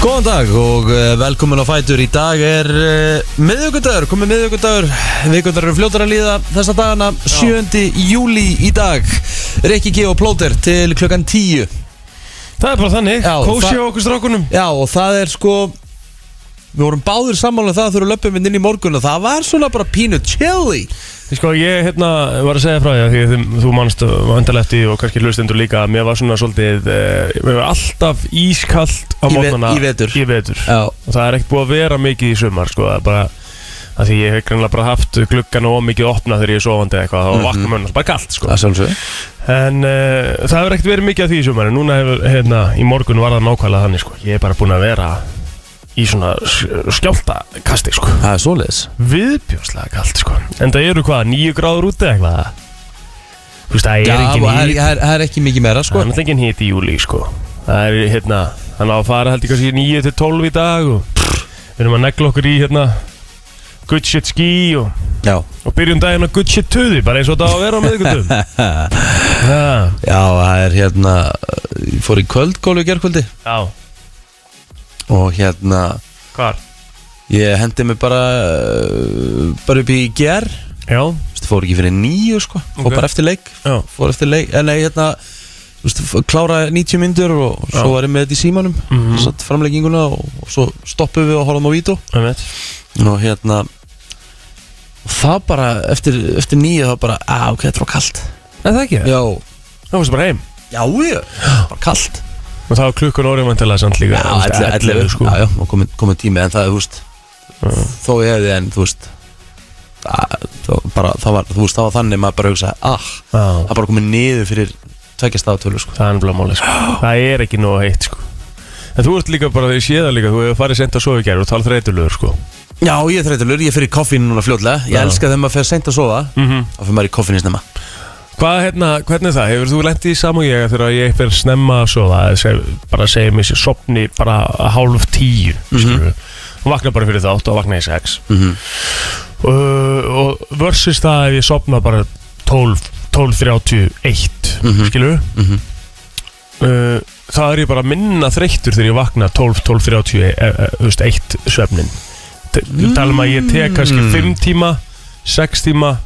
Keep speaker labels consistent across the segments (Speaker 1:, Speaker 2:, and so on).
Speaker 1: Góðan dag og eh, velkomin á Fætur Í dag er uh, miðvíkundagur Komið miðvíkundagur Víkundagur eru fljótar að líða þessa dagana 7. júli í dag Rikki G og Plóter til klukkan 10
Speaker 2: Það er bara þannig,
Speaker 1: Já,
Speaker 2: kósi
Speaker 1: það-
Speaker 2: á okkur strákunum
Speaker 1: Já og það er sko Við vorum báður sammála um það þegar við löpum inn í morgun og það var svona bara pínu chilly
Speaker 2: Sko ég hérna var að segja frá því að því að þú- þú manst vandalefti og kannski hlustendur líka að mér var svona svolítið eh, Mér var alltaf ískalt á
Speaker 1: Í ve-
Speaker 2: mótnana
Speaker 1: í vetur.
Speaker 2: Í vetur
Speaker 1: Já,
Speaker 2: Og það er ekkert búið að vera mikið í sumar sko Það er bara að því ég hef grannlega bara haft gluggan og mikið opna þegar ég er sofandi eða eitthvað Það var vakna mönnast, bara kalt sko
Speaker 1: það sjálfsög
Speaker 2: En uh, það hefur ekkert verið mikið af því í sumar En núna hefur, hérna, í morgun var það nákvæmlega þannig sko Ég er bara búin að vera í svona s- skjálftakasti sko
Speaker 1: Það er svoleiðis
Speaker 2: Viðbjóslega kalt sko En það eru hvað, níu gráður úti eða eitthvað Þú veist, það
Speaker 1: Já,
Speaker 2: er
Speaker 1: og
Speaker 2: engin
Speaker 1: það er,
Speaker 2: hít
Speaker 1: það er, það er ekki mikið meira
Speaker 2: Það
Speaker 1: sko
Speaker 2: er náttúrulega engin hít í júli sko Það er hérna, hann á að fara held ég kannski níu til tólf í dag og við erum að negla okkur í hérna Good shit ski og,
Speaker 1: Já,
Speaker 2: og byrjum daginn á good shit töði bara eins og það á að vera á miðgutum Já,
Speaker 1: já það er hérna Ég fór í kvöldgólu í gerkvöldi
Speaker 2: já,
Speaker 1: og hérna
Speaker 2: hvar?
Speaker 1: Ég hendi mig bara uh, bara upp í GR Þú
Speaker 2: Já,
Speaker 1: veist, fór ekki fyrir nýju sko fór
Speaker 2: Ok.
Speaker 1: bara eftir leik
Speaker 2: Já.
Speaker 1: fór eftir leik en nei, hérna þú veist, f- kláraði 90 myndur og svo
Speaker 2: Já.
Speaker 1: var ég með þetta í símanum
Speaker 2: Mhm.
Speaker 1: satt framlegginguna og, og svo stoppum við og horfum á vító
Speaker 2: einmitt
Speaker 1: og hérna og það bara eftir, eftir nýju það bara að ok, þetta var kalt
Speaker 2: Er það ekki?
Speaker 1: Já,
Speaker 2: Það fórstu bara heim
Speaker 1: já, já, bara kalt
Speaker 2: Og þá var klukkan orðið vantilega samt líka þú veist,
Speaker 1: Já, 11, 11
Speaker 2: sko
Speaker 1: Já, já, og komið komi tími en það, þú veist Þó ég hefði en, þú veist að, það, bara, það var, þú veist, það var þannig maður bara hugsa, ah,
Speaker 2: Já,
Speaker 1: það er bara komið niður fyrir tvekja stafatölu, sko
Speaker 2: Það er nefnilega máli sko Það er ekki nóg heitt sko En þú ert líka bara, ég sé það líka, þú hefur farið sent að sofa í gær og tala þreytulegur sko
Speaker 1: Já, ég er þreytulur, ég fyrir koffín núna fljótlega Ég
Speaker 2: Já.
Speaker 1: elska þegar maður fer seint að sofa
Speaker 2: mm -hmm.
Speaker 1: og fyrir maður í koffín í snemma
Speaker 2: Hvað, hérna, hvernig er það? Hefur þú lent í sam og ég að þegar ég fer snemma að sofa eða seg, bara segja mér sér sopni bara að hálf tíu
Speaker 1: Mhm.
Speaker 2: mm og vakna bara fyrir þátt og vakna í sex
Speaker 1: mm -hmm.
Speaker 2: uh, og versus það ef ég sopna bara 12, 12.31
Speaker 1: Mhm.
Speaker 2: skilu
Speaker 1: Mhm.
Speaker 2: uh, það er ég bara minna þreyttur þegar ég vakna 12, 12.30 eh, eh, þú veist, 1 svefnin T- þú talum um að ég tek kannski 5 tíma 6 tíma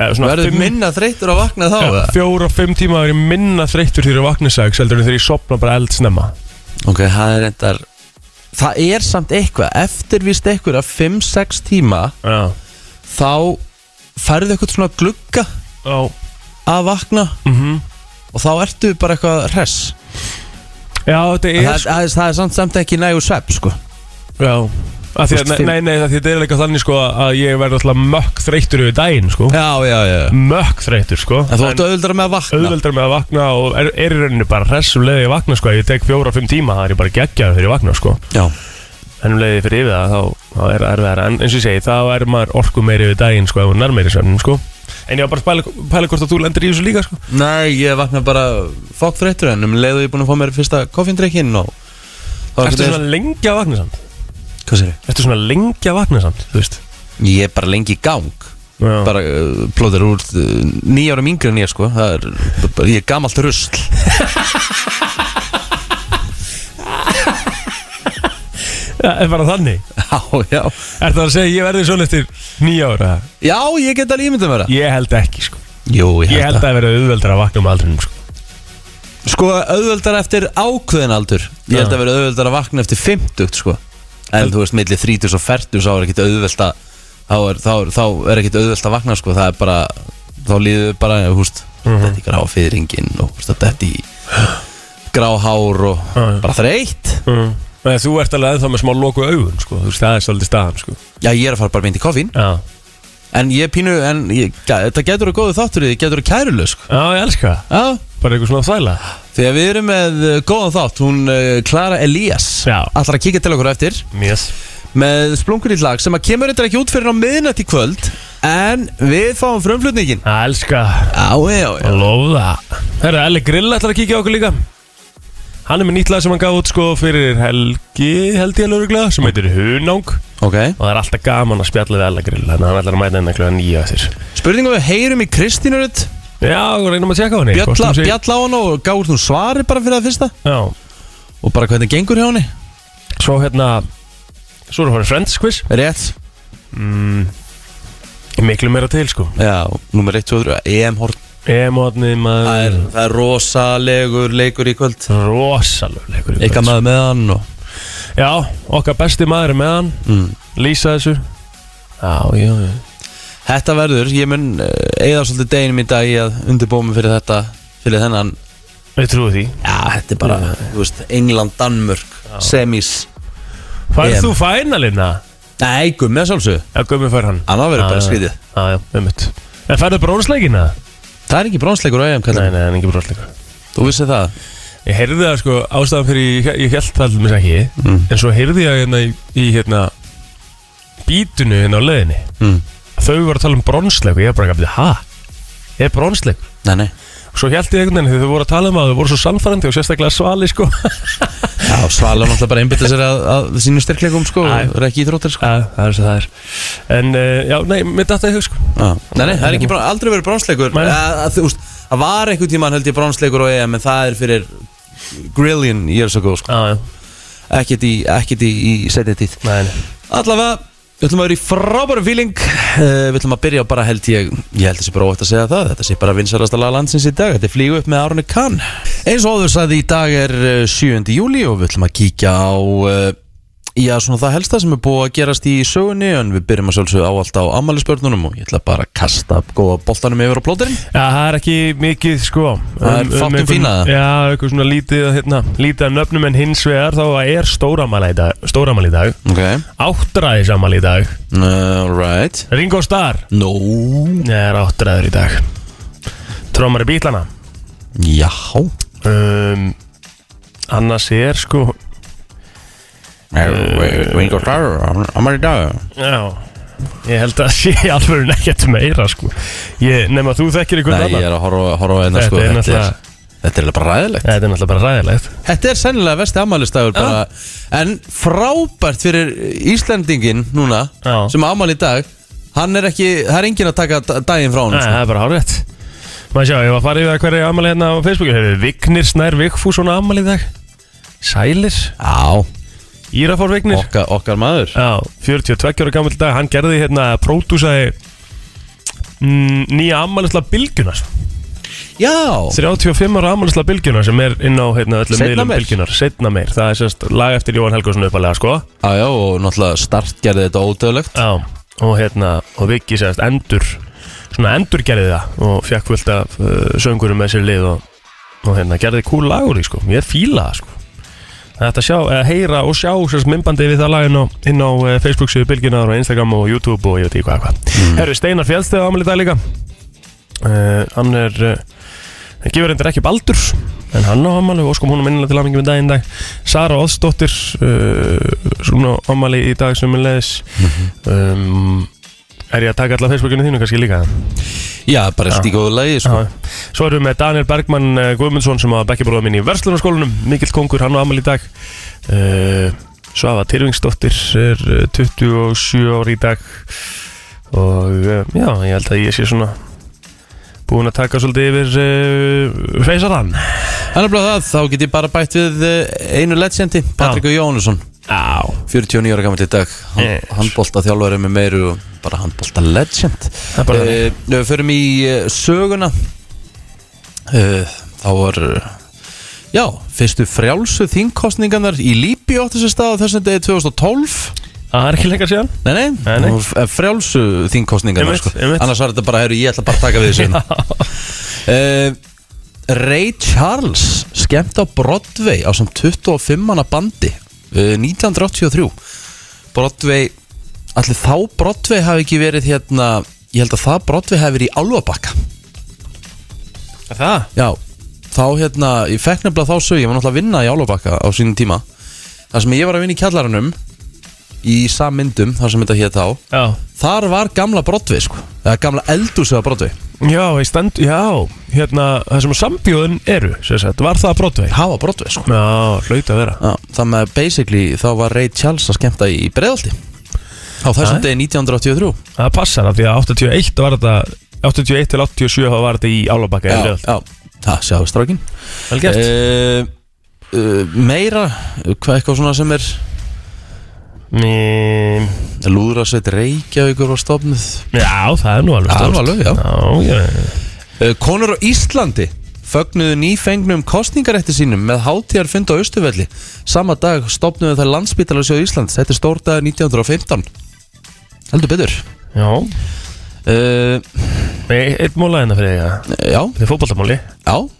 Speaker 2: eða svona
Speaker 1: Mm. Verður
Speaker 2: fimm-
Speaker 1: minna þreytur að vakna þá,
Speaker 2: eh,
Speaker 1: eða?
Speaker 2: fjóra, fimm tíma er ég minna þreyttur þegar ég vakna 6 heldur en þegar ég sopna bara eldsnemma
Speaker 1: Ok, það er endar Það er samt eitthvað, eftir víst eitthvað 5-6 tíma,
Speaker 2: já,
Speaker 1: þá færðu eitthvað svona glugga
Speaker 2: já
Speaker 1: að vakna
Speaker 2: mm
Speaker 1: Mhm. og þá ertu bara eitthvað hress
Speaker 2: já, þetta er
Speaker 1: En það, það, það er samt, samt ekki nægur svepp sko.
Speaker 2: Já að
Speaker 1: Þú
Speaker 2: því
Speaker 1: veist,
Speaker 2: að, nei,
Speaker 1: fimm-
Speaker 2: nei, nei, af því að þetta er líka þannig sko að ég verði alltaf mökk þreyttur yfir daginn sko
Speaker 1: Já, já, já
Speaker 2: Mökk þreyttur sko
Speaker 1: En þú áttu auðvöldra með að vakna
Speaker 2: auðveldar með að vakna og er, er í rauninu bara hress um leiði ég vakna sko Ég tek fjóra, fimm tíma, það er ég bara geggjaður þegar ég vakna sko
Speaker 1: Já,
Speaker 2: En um leiði ég fyrir yfir það, þá, þá er það erfiðara En eins og ég segi, þá er maður orku meiri yfir daginn sko Ef hún er meiri sörnum sko En ég var bara að pæla, pæla hvort að þú lendir í þessu líka sko
Speaker 1: nei, ég vakna bara fokk þreyttur en um leiðu ég búin að fá mér fyrsta koffindreikinn og þá
Speaker 2: Ertu
Speaker 1: einhvern
Speaker 2: svona lengi að vakna samt?
Speaker 1: veginn- Hvað sér ég?
Speaker 2: Ertu svona lengi að vakna samt, þú veist?
Speaker 1: Ég er bara lengi í gang
Speaker 2: Já.
Speaker 1: bara uh, plóður úr uh, nýjárum yngri en ég sko það er, bara- ég er gamalt rusl
Speaker 2: Ja, er bara þannig
Speaker 1: Já, já
Speaker 2: Ertu að segja, ég verði svona eftir nýja ára
Speaker 1: Já, ég get alveg ímyndað mér það
Speaker 2: Ég held ekki sko
Speaker 1: Jú, ég
Speaker 2: Ég held að
Speaker 1: held
Speaker 2: það verið auðveldar að vakna um aldrinum sko.
Speaker 1: að Sko, auðvöldar eftir ákveðin aldur Ég held
Speaker 2: Já.
Speaker 1: að vera auðvöldar að vakna eftir 50 sko En þú veist, milli 30 og 40 Þá er ekkit auðvöld að Þá er, þá er, þá er ekkit auðvöld að vakna sko Það er bara, þá líður bara húst, mm -hmm.
Speaker 2: Mhm.
Speaker 1: Þetta í gráa fyrringin Og húst, þetta í gráhár Og
Speaker 2: Já, já.
Speaker 1: bara þreytt
Speaker 2: mm. Nei, Þú ert alveg ennþá með smá loku augun sko. Þú veist, það er svolítið staðan sko.
Speaker 1: Já, ég er að fara bara mynd í koffín
Speaker 2: Já.
Speaker 1: En ég pínu, en ég, þetta getur að góðu þáttur Þetta getur að kærulega sko
Speaker 2: Já, ég elska það
Speaker 1: Já,
Speaker 2: Bara einhver svona þvæla
Speaker 1: því að við erum með uh, góðan þátt Hún uh, Clara Elias
Speaker 2: Já.
Speaker 1: Ætlar að kíka til okkur eftir
Speaker 2: yes.
Speaker 1: með splunkur í lag sem að kemur eitthvað ekki út fyrir á miðnætt í kvöld en við fáum frumflutningin
Speaker 2: Það elska
Speaker 1: Já, já, já
Speaker 2: Ég Lóða Herra, Elli Grill ætlar að kíkja á okkur líka Hann er með nýtt lag sem hann gaf út sko, fyrir helgi, held ég alveg örugglega, sem heitir Hunang
Speaker 1: Ok,
Speaker 2: og það er alltaf gaman að spjalla við Ella Grill þannig að hann ætlar að mæta hérna henni kljóða nýja þér
Speaker 1: spurningum um við heyrum í Kristínurut
Speaker 2: Já, og reynum að tjekka á henni hvort
Speaker 1: Bjalla,
Speaker 2: hún sé-
Speaker 1: bjalla á hann og gáður hún svari bara fyrir það fyrsta
Speaker 2: Já,
Speaker 1: og bara hvernig gengur hjá henni
Speaker 2: Svo hérna Svo er að fara í Friends quiz
Speaker 1: Rétt
Speaker 2: mm, Miklu meira til sko
Speaker 1: Já, nummer 1, 2, 3 EM hort
Speaker 2: Emotni
Speaker 1: það er,
Speaker 2: maður
Speaker 1: það er rosalegur leikur í kvöld
Speaker 2: Rosalur leikur í
Speaker 1: Eitthvað
Speaker 2: kvöld.
Speaker 1: maður með hann og
Speaker 2: Já, okkar besti maður er með hann
Speaker 1: mm.
Speaker 2: Lýsa þessu Já, já, já
Speaker 1: Þetta verður, ég mun uh, eigða svolítið deginum í dag í að undirbómi fyrir þetta fyrir þennan,
Speaker 2: Við trúum því
Speaker 1: já, þetta er bara þú veist, England, Danmörk, semis
Speaker 2: Færð
Speaker 1: EM.
Speaker 2: þú fænalina?
Speaker 1: Nei, gummi að sjálfsögðu,
Speaker 2: Já, gummi fær hann
Speaker 1: annað verður
Speaker 2: Já,
Speaker 1: bara
Speaker 2: já.
Speaker 1: skrítið
Speaker 2: Já, já, ummitt En færðu brónsleikina?
Speaker 1: Það er ekki brónsleikur á EM,
Speaker 2: Nei,
Speaker 1: kallar
Speaker 2: nei, en ekki brónsleikur
Speaker 1: Þú vissið það?
Speaker 2: Ég heyrði það sko ástæðan fyrir ég, ég held það allir mér ekki
Speaker 1: Mm.
Speaker 2: En svo heyrði ég hérna í, í hérna Bítunu hérna á leiðinni
Speaker 1: Mm.
Speaker 2: Þau voru að tala um bronsleiku Ég er bara ekki að hæ? Er bronsleiku?
Speaker 1: Nei, nei
Speaker 2: Svo held ég einhvern veginn þegar þau voru að tala um að þau voru svo sannfærandi og sérstaklega svali sko
Speaker 1: Já, Svala náttúrulega bara einbytta sér að, að sínu styrklegum sko,
Speaker 2: Nei.
Speaker 1: og er ekki íþróttir sko
Speaker 2: Já, það er svo það er En uh, já, nei, mér datt það í hug sko
Speaker 1: Já. Nei, nei, það er ekki brón, aldrei verið brónsleikur
Speaker 2: Nei.
Speaker 1: Að- að þú veist, Það var einhvern tímann held ég brónsleikur á EM en það er fyrir grillion years ago sko.
Speaker 2: Já, já,
Speaker 1: ekkert í, ekkert í, í setja tíð
Speaker 2: nei, nei
Speaker 1: Allavega, við ætlum að vera í frábæru feeling uh, Við ætlum að byrja á bara held ég Ég held þessi bara óvægt að segja það Þetta sé bara vinsarasta lag landsins í dag Þetta er flýgu upp með Arne Kahn Eins og áður sagði í dag er eh, 7. júli Og við ætlum að kíkja á uh, Já, svona það helsta sem er búið að gerast í sögunni En við byrjum að sjálfsögðu áallt á ammælisbörnunum Og ég ætla bara að kasta góða boltanum yfir á plóterinn
Speaker 2: Já, það er ekki mikið sko
Speaker 1: Það er fátt um
Speaker 2: einhvern-
Speaker 1: fína, það.
Speaker 2: Já, eitthvað svona lítið, að, hérna, lítið að nöfnum en hins vegar þá er stóramæli í dag, stóramæli í dag
Speaker 1: Ok
Speaker 2: áttræðisamæli í dag
Speaker 1: Eh, Alright
Speaker 2: Ringo Starr
Speaker 1: No
Speaker 2: er áttræður í dag Trómari bílana
Speaker 1: Já
Speaker 2: um, Annars er sko
Speaker 1: Eh, Ringo Starr Ammæli í dag
Speaker 2: Já Ég held að sé alveg nekkert meira sko ég, Nefn að þú þekkir ykkur
Speaker 1: Nei, ég er að horfa horfa á hérna
Speaker 2: Þetta
Speaker 1: sko
Speaker 2: er
Speaker 1: Þetta er,
Speaker 2: náttúrulega-
Speaker 1: þetta er eiginlega bara ræðilegt
Speaker 2: Þetta er náttúrulega bara ræðilegt
Speaker 1: Þetta er sennilega vesti afmælistagur bara En frábært fyrir Íslandingin núna
Speaker 2: Já.
Speaker 1: sem afmæli í dag Hann er ekki, það er enginn að taka d- daginn frá hann
Speaker 2: Nei,
Speaker 1: sko.
Speaker 2: það er bara hárétt Maður sjá, ég var að fara yfir að hverju ammali hérna á Facebooku Hefur Vignir Snær Vigfús svona ammali í dag Sælir
Speaker 1: Já,
Speaker 2: Írafór Vignir
Speaker 1: okkar, okkar maður
Speaker 2: Já, 42 ára gammal dag Hann gerði hérna, pródúsaði mm, Nýja ammalisla bylgjuna sko.
Speaker 1: Já,
Speaker 2: 35 ára ammalisla bylgjuna Sem er inn á hérna, öllum
Speaker 1: Seinna
Speaker 2: miðlum
Speaker 1: meir.
Speaker 2: bylgjunar Setna meir, það er sérst lag eftir Jóhann Helgason uppalega sko
Speaker 1: já, já og náttúrulega start gerði þetta ódöðlegt
Speaker 2: Já, og hérna, og Viki sérst endur Svona endur gerði það Og fjakk fullt af uh, söngurum með sér lið og, og hérna, gerði kúl lagur í sko Ég fíla það sko Það er hægt að sjá, eða heyra og sjá sérst mymbandi við það lag inn á, inn á eh, Facebook síðu bylginar og Instagram og YouTube og ég veit ekki hvað hvað mm. Herri, Steinar Fjallstæð ámæli í dag líka uh, Hann er uh, hann gefur reyndar ekki baldur en hann á ámæli og skum húnum innilega til ámæli með daginn í dag Sara Óðsdóttir uh, svona ámæli í dag sem er leðis um, Er ég að taka alla Facebookinu þínu kannski líka?
Speaker 1: Já, bara allt í góðu lagi sko.
Speaker 2: Já. Svo erum við með Daniel Bergmann eh, Guðmundsson sem var bekkjabróða minn í Verslunarskólanum Mikill Kongur, hann á amal í dag uh, Svafa Tyrfingsdóttir er eh, 27 ári í dag og uh, já, ég held að ég sé svona búinn að taka svolítið yfir uh, feysarann
Speaker 1: Hann er bara það, þá get ég bara bætt við eh, einu legendi, Patrikur Jónusson
Speaker 2: Já,
Speaker 1: 49 ára gammal í dag
Speaker 2: Yes.
Speaker 1: handbólta þjálfari með meiru og bara handbólta legend
Speaker 2: er bara
Speaker 1: Eh, Við förum í eh, söguna Eh, þá var eh, já, fyrstu frjálsu þingkostningarnar í Líbi átti sér stað á þessum degi 2012
Speaker 2: það Ah, er ekki lengar síðan
Speaker 1: Nei, nei,
Speaker 2: Nei, nei.
Speaker 1: nú f- eh, frjálsu þingkostningarnar
Speaker 2: Einmitt,
Speaker 1: sko.
Speaker 2: einmitt.
Speaker 1: annars var þetta bara, heru, ég ætla bara að taka við þessu hérna. Eh, Ray Charles skemmt á Broadway á sem 25 manna bandi eh, 1983 Broadway allir þá Broadway hafi ekki verið hérna ég held að það Broadway hafi verið í Álfabakka
Speaker 2: Það?
Speaker 1: já, þá hérna ég fekk nefnilega þá sög, ég var náttúrulega að vinna í Álfabakka á sínum tíma þar sem ég var að vinna í kjallaranum í sammyndum, þar sem þetta hér þá
Speaker 2: Já
Speaker 1: þar var gamla Broadway sko eða gamla eldúsöða Broadway
Speaker 2: Já, ég stend, já, hérna, það sem sambjóðin eru, sem sagt, var það að brotvei?
Speaker 1: hafa Broadway sko
Speaker 2: Já, hlaut að vera
Speaker 1: Já, þannig að basically þá var Ray Charles að skemmta í breiðaldi á þessum
Speaker 2: Nei.
Speaker 1: degi 1983
Speaker 2: Það passar af því að 81 var þetta 81 til 87 þá var þetta í Álabakka í Breiðholt.
Speaker 1: já, það sjáðu strákin Eh,
Speaker 2: Vel
Speaker 1: uh, uh, Meira, hvað eitthvað svona sem er Eh.
Speaker 2: Mm,
Speaker 1: Lúðrasveit Reykjavíkur var stofnuð
Speaker 2: Já, það er nú alveg
Speaker 1: Já,
Speaker 2: stórt
Speaker 1: alveg, já.
Speaker 2: já, já.
Speaker 1: Eh, Konur á Íslandi fögnuðu nýfengnum kostningarætti sínum með hátíðarfund á Östuvelli Sama dag stofnuðu það landsbítalasjóð Íslands Þetta er stórdagur 1915 Heldur betur
Speaker 2: Já,
Speaker 1: uh,
Speaker 2: Nei, eitt móla hérna fyrir þig
Speaker 1: Já,
Speaker 2: Þetta er fótboltamóli
Speaker 1: já
Speaker 2: uh,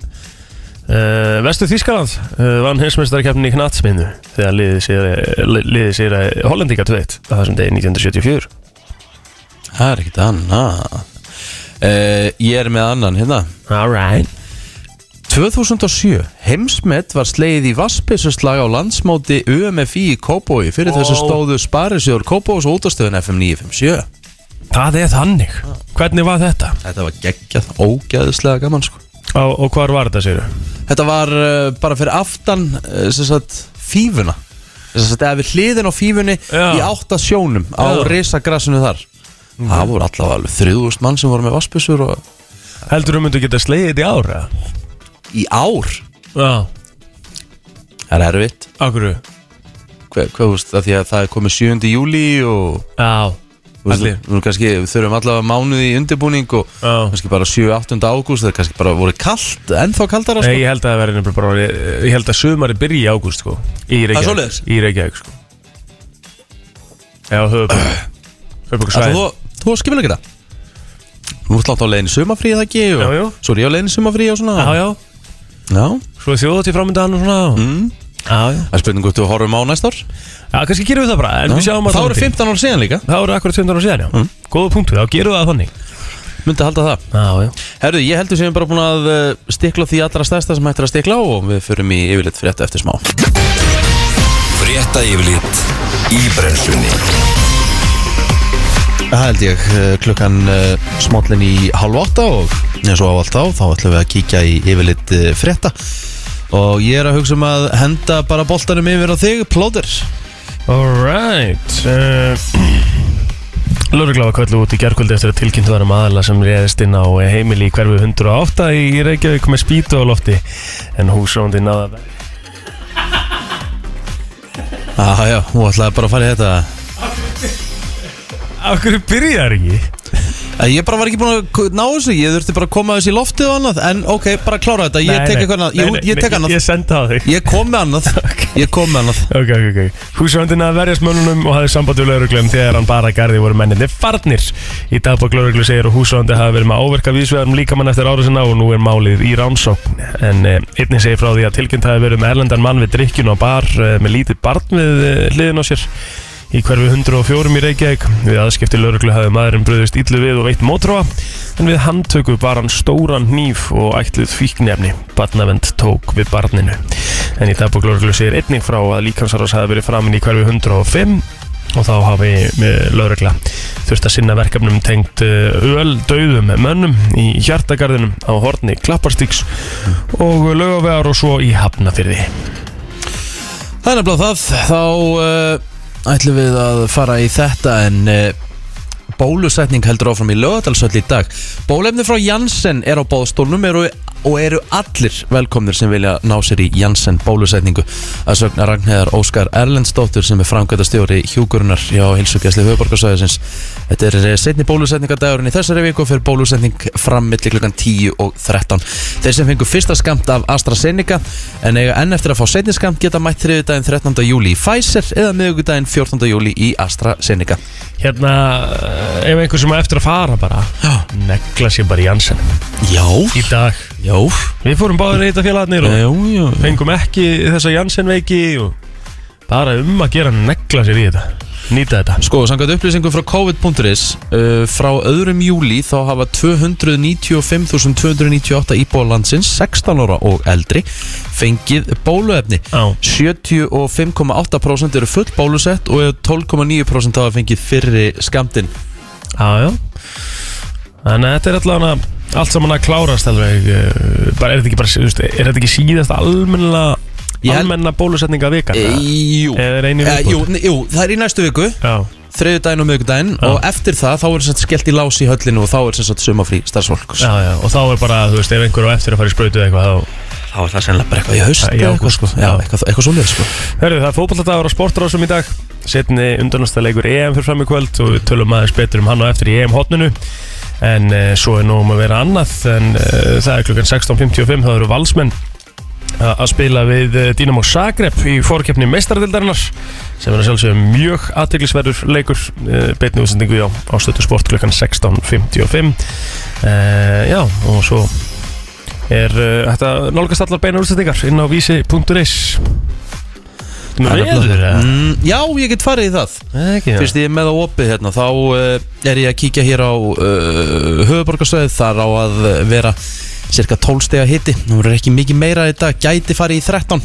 Speaker 2: Vestu Þískaland uh, vann heimsmeistarkeppnin í knatsminu þegar liðið sér, li, liðið sér að Hollendinga tveitt á þessum degi 1974
Speaker 1: Það er ekkert annað uh, Ég er með annan hérna
Speaker 2: Alright
Speaker 1: 2007 heimsmet var slegið í vassbissuslag á landsmóti UMFI í Kópói fyrir þessu
Speaker 2: Ó.
Speaker 1: stóðu Sparisjóður Kópóis og útastöðun FM 957
Speaker 2: Það er þannig Hvernig var þetta?
Speaker 1: Þetta var geggjað, ógeðislega gaman sko
Speaker 2: Á, og hvar var þetta sér?
Speaker 1: Þetta var uh, bara fyrir aftan uh, sem sagt fífuna sem sagt eða við hliðin á fífunni
Speaker 2: Já.
Speaker 1: í átta sjónum á
Speaker 2: Já.
Speaker 1: risagrassinu þar Það voru allavega alveg 3000 mann sem voru með vassbissur og
Speaker 2: Heldur þú myndu geta slegið þetta í ára?
Speaker 1: í ár
Speaker 2: Já,
Speaker 1: Það er erfitt
Speaker 2: okkur Já,
Speaker 1: Hver, hvað, þú veist, af því að það er komið 7. júli og Þú veist,
Speaker 2: Allir.
Speaker 1: Nú kannski við þurfum allavega mánuði í undirbúning og
Speaker 2: Já.
Speaker 1: kannski bara 7-8. ágúst það er kannski bara voru kallt, ennþá kaldara
Speaker 2: Nei,
Speaker 1: sko.
Speaker 2: ég held að það verði nefnilega bara Ég ég held að sumari byrji í ágúst sko Í Reykjavík
Speaker 1: svoleiðis?
Speaker 2: Í Reykjavík sko Já, höfum Höfum
Speaker 1: Ætlar Þú, þú skipil ekki það Þú ert látt á leiðin sumafrí það ekki og
Speaker 2: Já, já.
Speaker 1: svo er ég á leiðin sumafrí og svona
Speaker 2: Já, já
Speaker 1: Já.
Speaker 2: Svo er þjóðatíð framöndan og svona
Speaker 1: Mm.
Speaker 2: Já, já
Speaker 1: Það er spurning hvort þú horfum á næst ár
Speaker 2: Já, kannski gerum við það bara, en við sjáum að
Speaker 1: Það eru 15 ár síðan líka
Speaker 2: Það eru akkurat 200 ára síðan, já mm. Góða punktu, þá gerum við það þannig
Speaker 1: Myndi halda það
Speaker 2: Já, já
Speaker 1: Herru, ég heldur sem ég bara búin að eh, stikla á því allra stærsta sem hættir að stikla á og við förum í yfirleitt frétta eftir smá
Speaker 3: Frétta yfirlit í brennslunni
Speaker 1: Það held ég eh, klukkan eh, smállin í halv átta og eins og á allt á þá ætlum við að kíkja í yfirleitt eh, frétta og ég er að hugsa um að henda bara boltanum yfir á þig, plóður
Speaker 2: Alright uh, Lörgla var köllu út í gerkvöldi eftir að tilkynntu var um aðala sem reyðist inn á eh, heimili í hverfi 108 í Reykjavík með spýtu á lofti en húsróndi náða
Speaker 1: ah, Já, hún ætlaði bara að fara í þetta
Speaker 2: Af hverju byrjar ekki?
Speaker 1: Eh, Ég bara var ekki búin að k- ná þessu, ég þurfti bara að koma þessu í loftið og annað en ok, bara klára þetta, ég tek eitthvað annað Jú, ég tek annað,
Speaker 2: Ég sendi það á þig
Speaker 1: ég kom með annað Ég kom með annað
Speaker 2: Ok, ok, ok. Húsvöndin að verjast mönnunum og hafði samband við lauruglum þegar hann bara garði voru menninni farnir. Í dagbók lauruglu segir að húsvöndi hafi verið með áverka vísveðarum líkamann eftir árasina og nú er málið í ránsókn. En eh, einnig segir frá því að tilkynnt hafi verið með erlendan mann við drikkjun og bar eh, með lítið barn við eh, hliðin á sér. Í hverfi 104 í Reykjavík við aðskipti lauruglu hafði maðurinn bröðist illu við og veitt mótróa en við handtöku var hann stóran hníf og ætluð fíknefni. Barnavend tók við barninu. En í dagbók lauruglu segir einnig frá að líkansarás hafi verið framin í hverfi 105 og þá hafi með laurugla þurft að sinna verkefnum tengt eh, öl döðum mönnum í hjartagarðinum á horni klapparstíks og lögavegar og svo í hafnafyrði.
Speaker 1: Það er nefnilega það, þá uh, ætlum við að fara í þetta en uh, bólusetning heldur áfram í lögadalsöll í dag. Bólefni frá Janssen er á bóðstólnum eru, og eru allir velkomnir sem vilja ná sér í Janssen bólusetningu. Að sögna Ragnheðar Óskar Erlendsdóttur sem er framkvæmda stjóri hjúkurunar hjá Hilsugjæsli Höfuborgarsvæðisins. Þetta er eh, seinni bólusetningadagurinn í þessari viku og fyrir bólusetning fram milli klukkan 10 og 13. Þeir sem fengu fyrsta skamt af AstraZeneca en eiga enn eftir að fá seinni skamt geta mætt þriðudaginn 13. júli í Pfizer eða miðugudaginn 14. júli í AstraZeneca.
Speaker 2: Hérna, eh, ef einhver sem á eftir að fara bara,
Speaker 1: Já.
Speaker 2: negla sér bara í Janssen
Speaker 1: Já.
Speaker 2: í dag. Eh.
Speaker 1: Já,
Speaker 2: Við fórum báður í þetta félagarnir og
Speaker 1: já, já
Speaker 2: fengum ekki þessa Janssen veiki og bara um að gera negla sér í þetta. Nýta þetta.
Speaker 1: Sko, samkvæmt upplýsingum frá COVID.is uh, frá öðrum júli þá hafa 295.298 íbúa landsins 16 ára og eldri fengið bóluefni
Speaker 2: Já.
Speaker 1: 75,8% eru full bólusett og 12,9% hafa fengið fyrri skamtinn
Speaker 2: Já, já Þannig að þetta er allavega allt saman að klárast alveg eh, bara, er, þetta ekki bara, þú veist, er þetta ekki síðast almenna,
Speaker 1: Ég held-
Speaker 2: almenna bólusetninga vikan?
Speaker 1: Eh, Jú
Speaker 2: Eða er einu
Speaker 1: Eh,
Speaker 2: viðbútt?
Speaker 1: jú, jú, það er í næstu viku
Speaker 2: Já,
Speaker 1: þriðudaginn og miðugudaginn
Speaker 2: Já.
Speaker 1: og eftir það þá er sem sagt skellt í lás í höllinu og þá er sem sagt sumafrí starfsfólks
Speaker 2: já, já, og þá er bara, þú veist, ef einhver á eftir að fara í sprautu eða eitthvað þá
Speaker 1: Þá er það sennilega bara eitthvað í haust
Speaker 2: Já, í
Speaker 1: eða
Speaker 2: ágúst,
Speaker 1: eitthvað, sko.
Speaker 2: já.
Speaker 1: Já, eitthvað, eitthvað svoleið sko
Speaker 2: Herðu, það er fótballadagur á sportrásum í dag setni undanasta leikur EM fyrir fram í kvöld og við tölum aðeins betur um hann og eftir í EM-hotninu en uh, svo er nú um að vera annað en uh, það er klukkan 16.55 þá eru valsmenn a- að spila við eh, Dynamo Zagreb í fórkeppni meistardildarinnar sem er að sjálfsögum mjög aðteglisverður leikur eh, beinni útsendingu á ástötu sport klukkan 16.55 Eh, Já, og svo er eh, hægt að nálgast allar beina útsendingar inn á vísi.is Þú með veður eða?
Speaker 1: Mm, já, ég get farið í það
Speaker 2: Eða Ekki,
Speaker 1: Fyrst ég er með á opið hérna Þá uh, er ég að kíkja hér á uh, höfuborgarstöðið Þar á að vera cirka 12 stega hitti Nú verður ekki mikið meira í dag Gæti farið í 13 uh,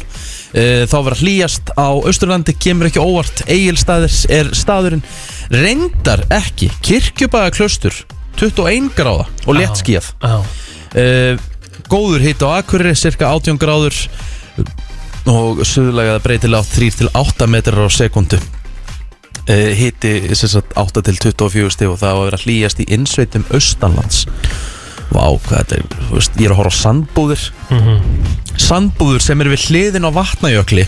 Speaker 1: Þá verður hlýjast á Östurlandi Kemur ekki óvart Egilstaðir er staðurinn Reyndar ekki Kirkjubæða 21 gráða og létt skíð
Speaker 2: Já,
Speaker 1: uh, Góður hitt á Akureyri Cirka 18 gráður Og suðulegaða breytilega 3-8 metrar á sekundu uh, Hitti sem sagt, 8 til 24 stig Og það á að vera hlýjast í innsveitum austanlands Vá, hvað þetta er þú veist, Ég er að horfa á sandbúðir
Speaker 2: Mhm.
Speaker 1: Sandbúður sem er við hliðin á vatnajökli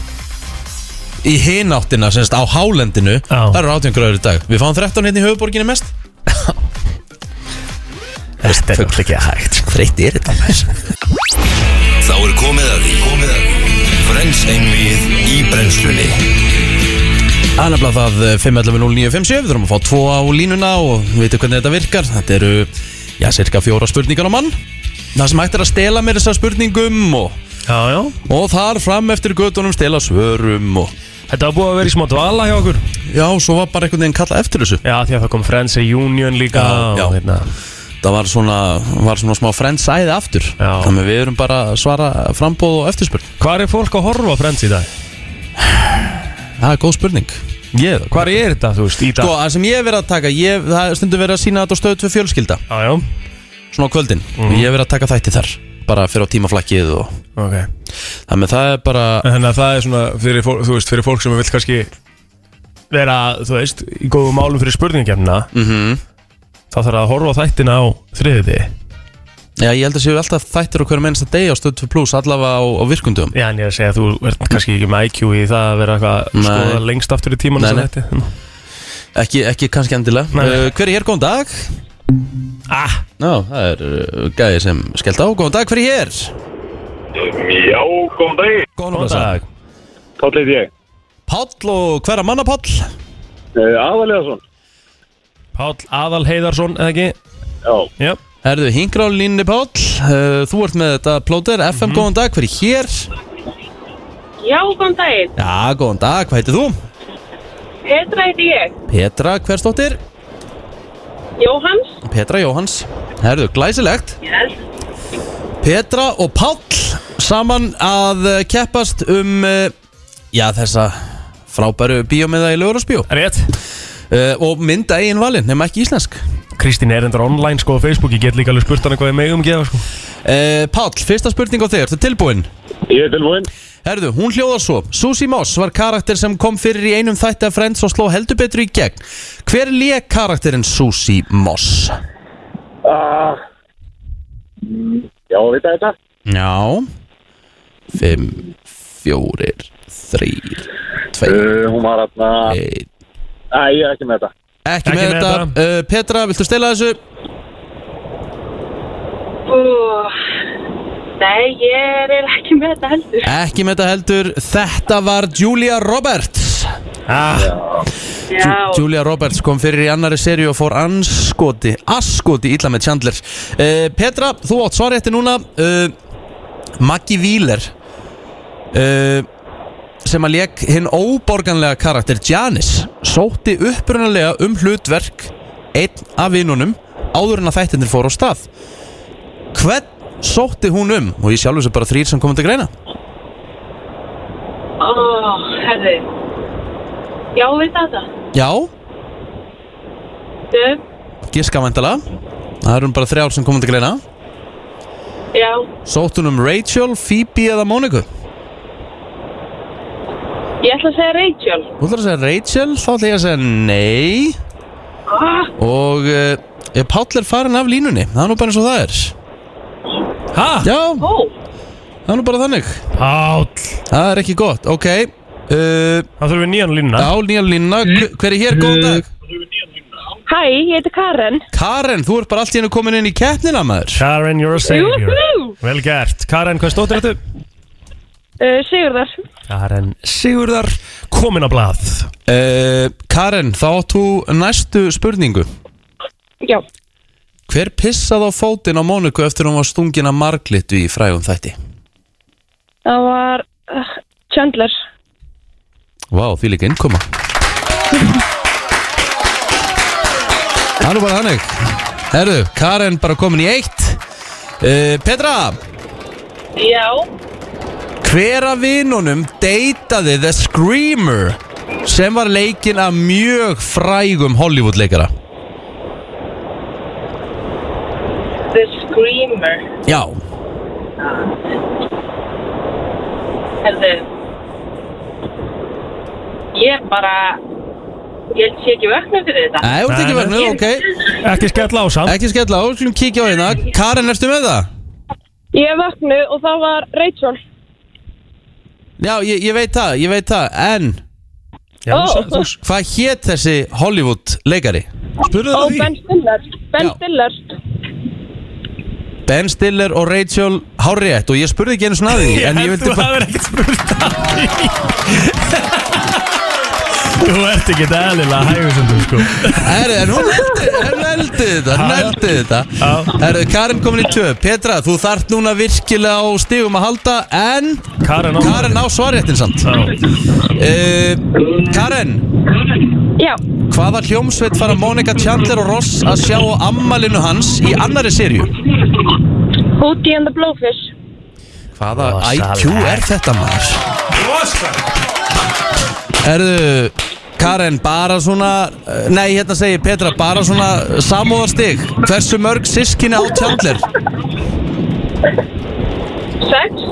Speaker 1: Í hináttina, sem sagt, á hálendinu
Speaker 2: Já.
Speaker 1: Það eru 18 gráður í dag Við fáum 13 hérna í höfuborginni mest
Speaker 2: þetta er náttúrulega ekki hægt sko.
Speaker 1: Þreytt er þetta maður.
Speaker 3: Þá er komið að því Komið að því Frens einvið í brennslunni
Speaker 1: Það er nefnilega það eh, 5.11.09.57 Við þurfum að fá tvo á línuna og við veitum hvernig þetta virkar Þetta eru, já, cirka fjóra spurningar á mann Það sem hægt er að stela mér þessar spurningum og,
Speaker 2: Já, já,
Speaker 1: og þar fram eftir göttunum stela svörum og
Speaker 2: þetta var búið að vera í smá dvala hjá okkur
Speaker 1: Já, svo var bara einhvern veginn kallað eftir þessu
Speaker 2: Já, því að það kom Friends and Union líka
Speaker 1: Já, já.
Speaker 2: og hérna
Speaker 1: Það var svona, var svona smá frendsæði aftur
Speaker 2: Já.
Speaker 1: Þannig að við erum bara að svara frambóð og eftirspurn
Speaker 2: Hvar er fólk að horfa á Friends í dag?
Speaker 1: Það er góð spurning Ég,
Speaker 2: Hvar er þetta, þú veist, í dag?
Speaker 1: Sko, það sem ég hef verið að taka, ég, það er stundum verið að sína þetta á stöðu tvö fjölskylda
Speaker 2: Já, já,
Speaker 1: Svona á kvöldin, og ég hef verið að taka þætti þar Bara fyrir á tímaflakkið og
Speaker 2: ok
Speaker 1: Þannig að það er bara
Speaker 2: En Þannig að það er svona, fyrir, fólk- þú veist, fyrir fólk sem vil kannski vera, þú veist, í góðum málum fyrir spurningakefnina
Speaker 1: mm -hmm.
Speaker 2: þá þarf að horfa á þættina á þriðiði
Speaker 1: Já, ég held að séu alltaf þættir á hverjum einasta degi á stöð 2 pluss allavega á, á virkundum
Speaker 2: Já, en ég er að segja að þú ert kannski ekki með IQ í það að vera eitthvað að
Speaker 1: Nei.
Speaker 2: skoða lengst aftur í tíman
Speaker 1: Nei, nei. Ekki, ekki kannski endilega
Speaker 2: Nei.
Speaker 1: uh, Hver er hér, góðan dag?
Speaker 2: Ah,
Speaker 1: Já, það er uh, gæði sem skellt á Góðan dag, hver er hér?
Speaker 4: Já, góðan dag.
Speaker 1: Góðan
Speaker 2: góðan dag
Speaker 4: Páll heit ég.
Speaker 1: Páll og hverja manna Páll?
Speaker 4: Uh, Aðalega
Speaker 2: Páll Aðal Heiðarsson, eða ekki?
Speaker 4: Já.
Speaker 2: Já,
Speaker 1: Herðu, hingra á línni Páll uh, Þú ert með þetta plóter, FM, góðan dag, hver er hér?
Speaker 5: Já, góðan daginn.
Speaker 1: Já, góðan dag, hvað heitir þú?
Speaker 5: Petra heiti ég.
Speaker 1: Petra, hversdóttir?
Speaker 5: Jóhanns.
Speaker 1: Petra Jóhans Herðu, glæsilegt
Speaker 5: Yes.
Speaker 1: Petra og Páll saman að eh, keppast um eh, já þessa frábæru bíómiða í Ljóðarsbjó
Speaker 2: rétt
Speaker 1: uh, og mynda eigin valin, nema ekki íslensk
Speaker 2: Kristín er endur online, sko, á Facebook Ég get líka alveg spurt hana hvað ég megum gefa, sko
Speaker 1: uh, Páll, fyrsta spurning á þig, ertu tilbúinn?
Speaker 4: Ég er tilbúinn.
Speaker 1: Herðu, hún hljóðar svo Susie Moss var karakter sem kom fyrir í einum þætti af Friends og sló heldur betur í gegn Hver lék karakterinn Susie Moss?
Speaker 4: Ah. Mm, Já, veit það þetta?
Speaker 1: Já 5, 4, 3, 2,
Speaker 4: Uh, hún var aðna... Eh.
Speaker 1: 1
Speaker 4: Æ, ég er ekki með þetta.
Speaker 1: Ekki, með, þetta uh, Petra, viltu stela þessu?
Speaker 5: Uh, nei, ég er ekki með þetta heldur.
Speaker 1: Ekki með þetta heldur Þetta var Julia Roberts
Speaker 2: ah,
Speaker 5: Já,
Speaker 1: Julia Roberts kom fyrir í annari seri og fór anskoti, askoti illa með Chandler uh, Petra, þú átt svar eftir núna uh, Maggie Wheeler uh, sem að leik hinn óborganlega karakter Janis sótti upprunalega um hlutverk einn af vinnunum áður en að þættinir fór á stað Hvern sótti hún um? Og ég sjálfur þessu bara þrýr sem komum til greina
Speaker 5: ó, herði. Já, veit það þetta.
Speaker 1: Já,
Speaker 5: Dö,
Speaker 1: giska væntalega Það eru bara þrjár sem komum til greina
Speaker 5: já,
Speaker 1: Sótt hún um Rachel, Phoebe eða Móniku?
Speaker 5: ég ætla að segja Rachel.
Speaker 1: Þú ætlar að segja Rachel, þá ætla ég að segja nei
Speaker 5: Ah,
Speaker 1: Og uh, eh, Páll er farin af línunni Það er nú bara eins og það er
Speaker 2: ha?
Speaker 1: Já,
Speaker 5: ó,
Speaker 1: það er nú bara þannig
Speaker 2: Páll
Speaker 1: Það er ekki gott, ok uh,
Speaker 2: Það þurfum við nýjan línuna
Speaker 1: Já, nýja línuna, Hver- hver er hér, góðan dag?
Speaker 6: Hæ, ég heiti Karen.
Speaker 1: Karen, þú ert bara allt í hennu komin inn í keppnina maður
Speaker 2: Karen, you're a savior
Speaker 6: Júhú!
Speaker 2: Vel gert Karen, hvað stóttir þetta?
Speaker 6: Uh, Sigurðar.
Speaker 2: Karen Sigurðar Komin á blað
Speaker 1: uh, Karen, þá átt þú næstu spurningu
Speaker 6: Já.
Speaker 1: Hver pissaði á fótinn á Móniku eftir hún var stungin að marglitvi í frægum þætti?
Speaker 6: Það var uh, Chandler.
Speaker 1: Vá, því líka innkoma Það er nú bara þannig Herðu, Karen bara komin í eitt uh, Petra
Speaker 5: Já,
Speaker 1: Hver af vinunum deytaði The Screamer sem var leikinn af mjög frægum Hollywood-leikara?
Speaker 5: The Screamer
Speaker 1: Já
Speaker 5: Herðu Ég bara Ég held sé ekki vöknum fyrir þetta
Speaker 1: Nei, þú ert ekki
Speaker 2: Nei,
Speaker 1: verður, ok
Speaker 2: Ekki skella á samt
Speaker 1: Ekki skella á, við skulum kíkja á hérna Karen, ertu með það?
Speaker 6: Ég vaknu og það var Rachel.
Speaker 1: Já, ég, ég veit það, ég veit það, en
Speaker 2: Já,
Speaker 6: Ó.
Speaker 2: þú- þú
Speaker 1: hvað hétt þessi Hollywood-leikari?
Speaker 2: spurðu
Speaker 6: Og
Speaker 2: það því
Speaker 6: Ben Stiller. Ben
Speaker 1: Já.
Speaker 6: Stiller.
Speaker 1: Ben Stiller og Rachel Hárétt og ég spurði ekki einu svona að því en ég
Speaker 2: held
Speaker 1: vildi
Speaker 2: þú
Speaker 1: bara
Speaker 2: hafir ekkert spurt að því Þú ert ekki eðlilega hægusundum sko
Speaker 1: Herru, en hún eldi, hún eldi þetta, hún eldi þetta
Speaker 2: Já.
Speaker 1: Herru, Karin komin í tvö Petra, þú þart núna virkilega á stigum að halda En
Speaker 2: Karen á
Speaker 1: Karin á svaréttin samt
Speaker 2: Já.
Speaker 1: uh, Karin,
Speaker 6: Já.
Speaker 1: hvaða hljómsveit fara Monika Chandler og Ross að sjá á ammalinu hans í annari sériu?
Speaker 6: Hootie and the Blowfish.
Speaker 1: Hvaða
Speaker 2: Rosalega.
Speaker 1: IQ er þetta maður? Herðu, Karen, bara svona eh, Nei, hérna segir Petra, bara svona samúðarstig Hversu mörg sískinni á Chandler?
Speaker 5: Sex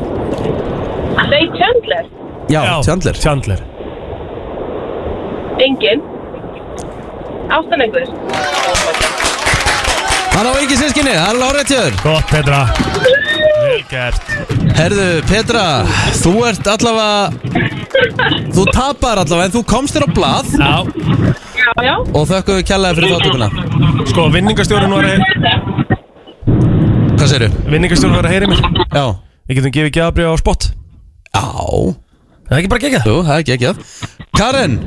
Speaker 5: Nei, Chandler
Speaker 1: Já, Chandler
Speaker 2: Chandler
Speaker 5: Engin Ástan einhver
Speaker 1: Hann á ekki sískinni, það er lárið tjöður
Speaker 2: Gott Petra Vel gert
Speaker 1: Herðu, Petra, þú ert allavega Þú tapar allavega en þú komst þér á blað
Speaker 2: Já
Speaker 5: Já, já
Speaker 1: Og þökkum við kjallaði fyrir þáttökuna
Speaker 2: Sko vinningastjórun var að
Speaker 1: Hvað segirðu?
Speaker 2: Vinningastjórun var að heyri mér
Speaker 1: Já
Speaker 2: Við getum gefið Gjabri á spott
Speaker 1: Já,
Speaker 2: Það er ekki bara gegja
Speaker 1: þú, það er ekki ekki að Karen,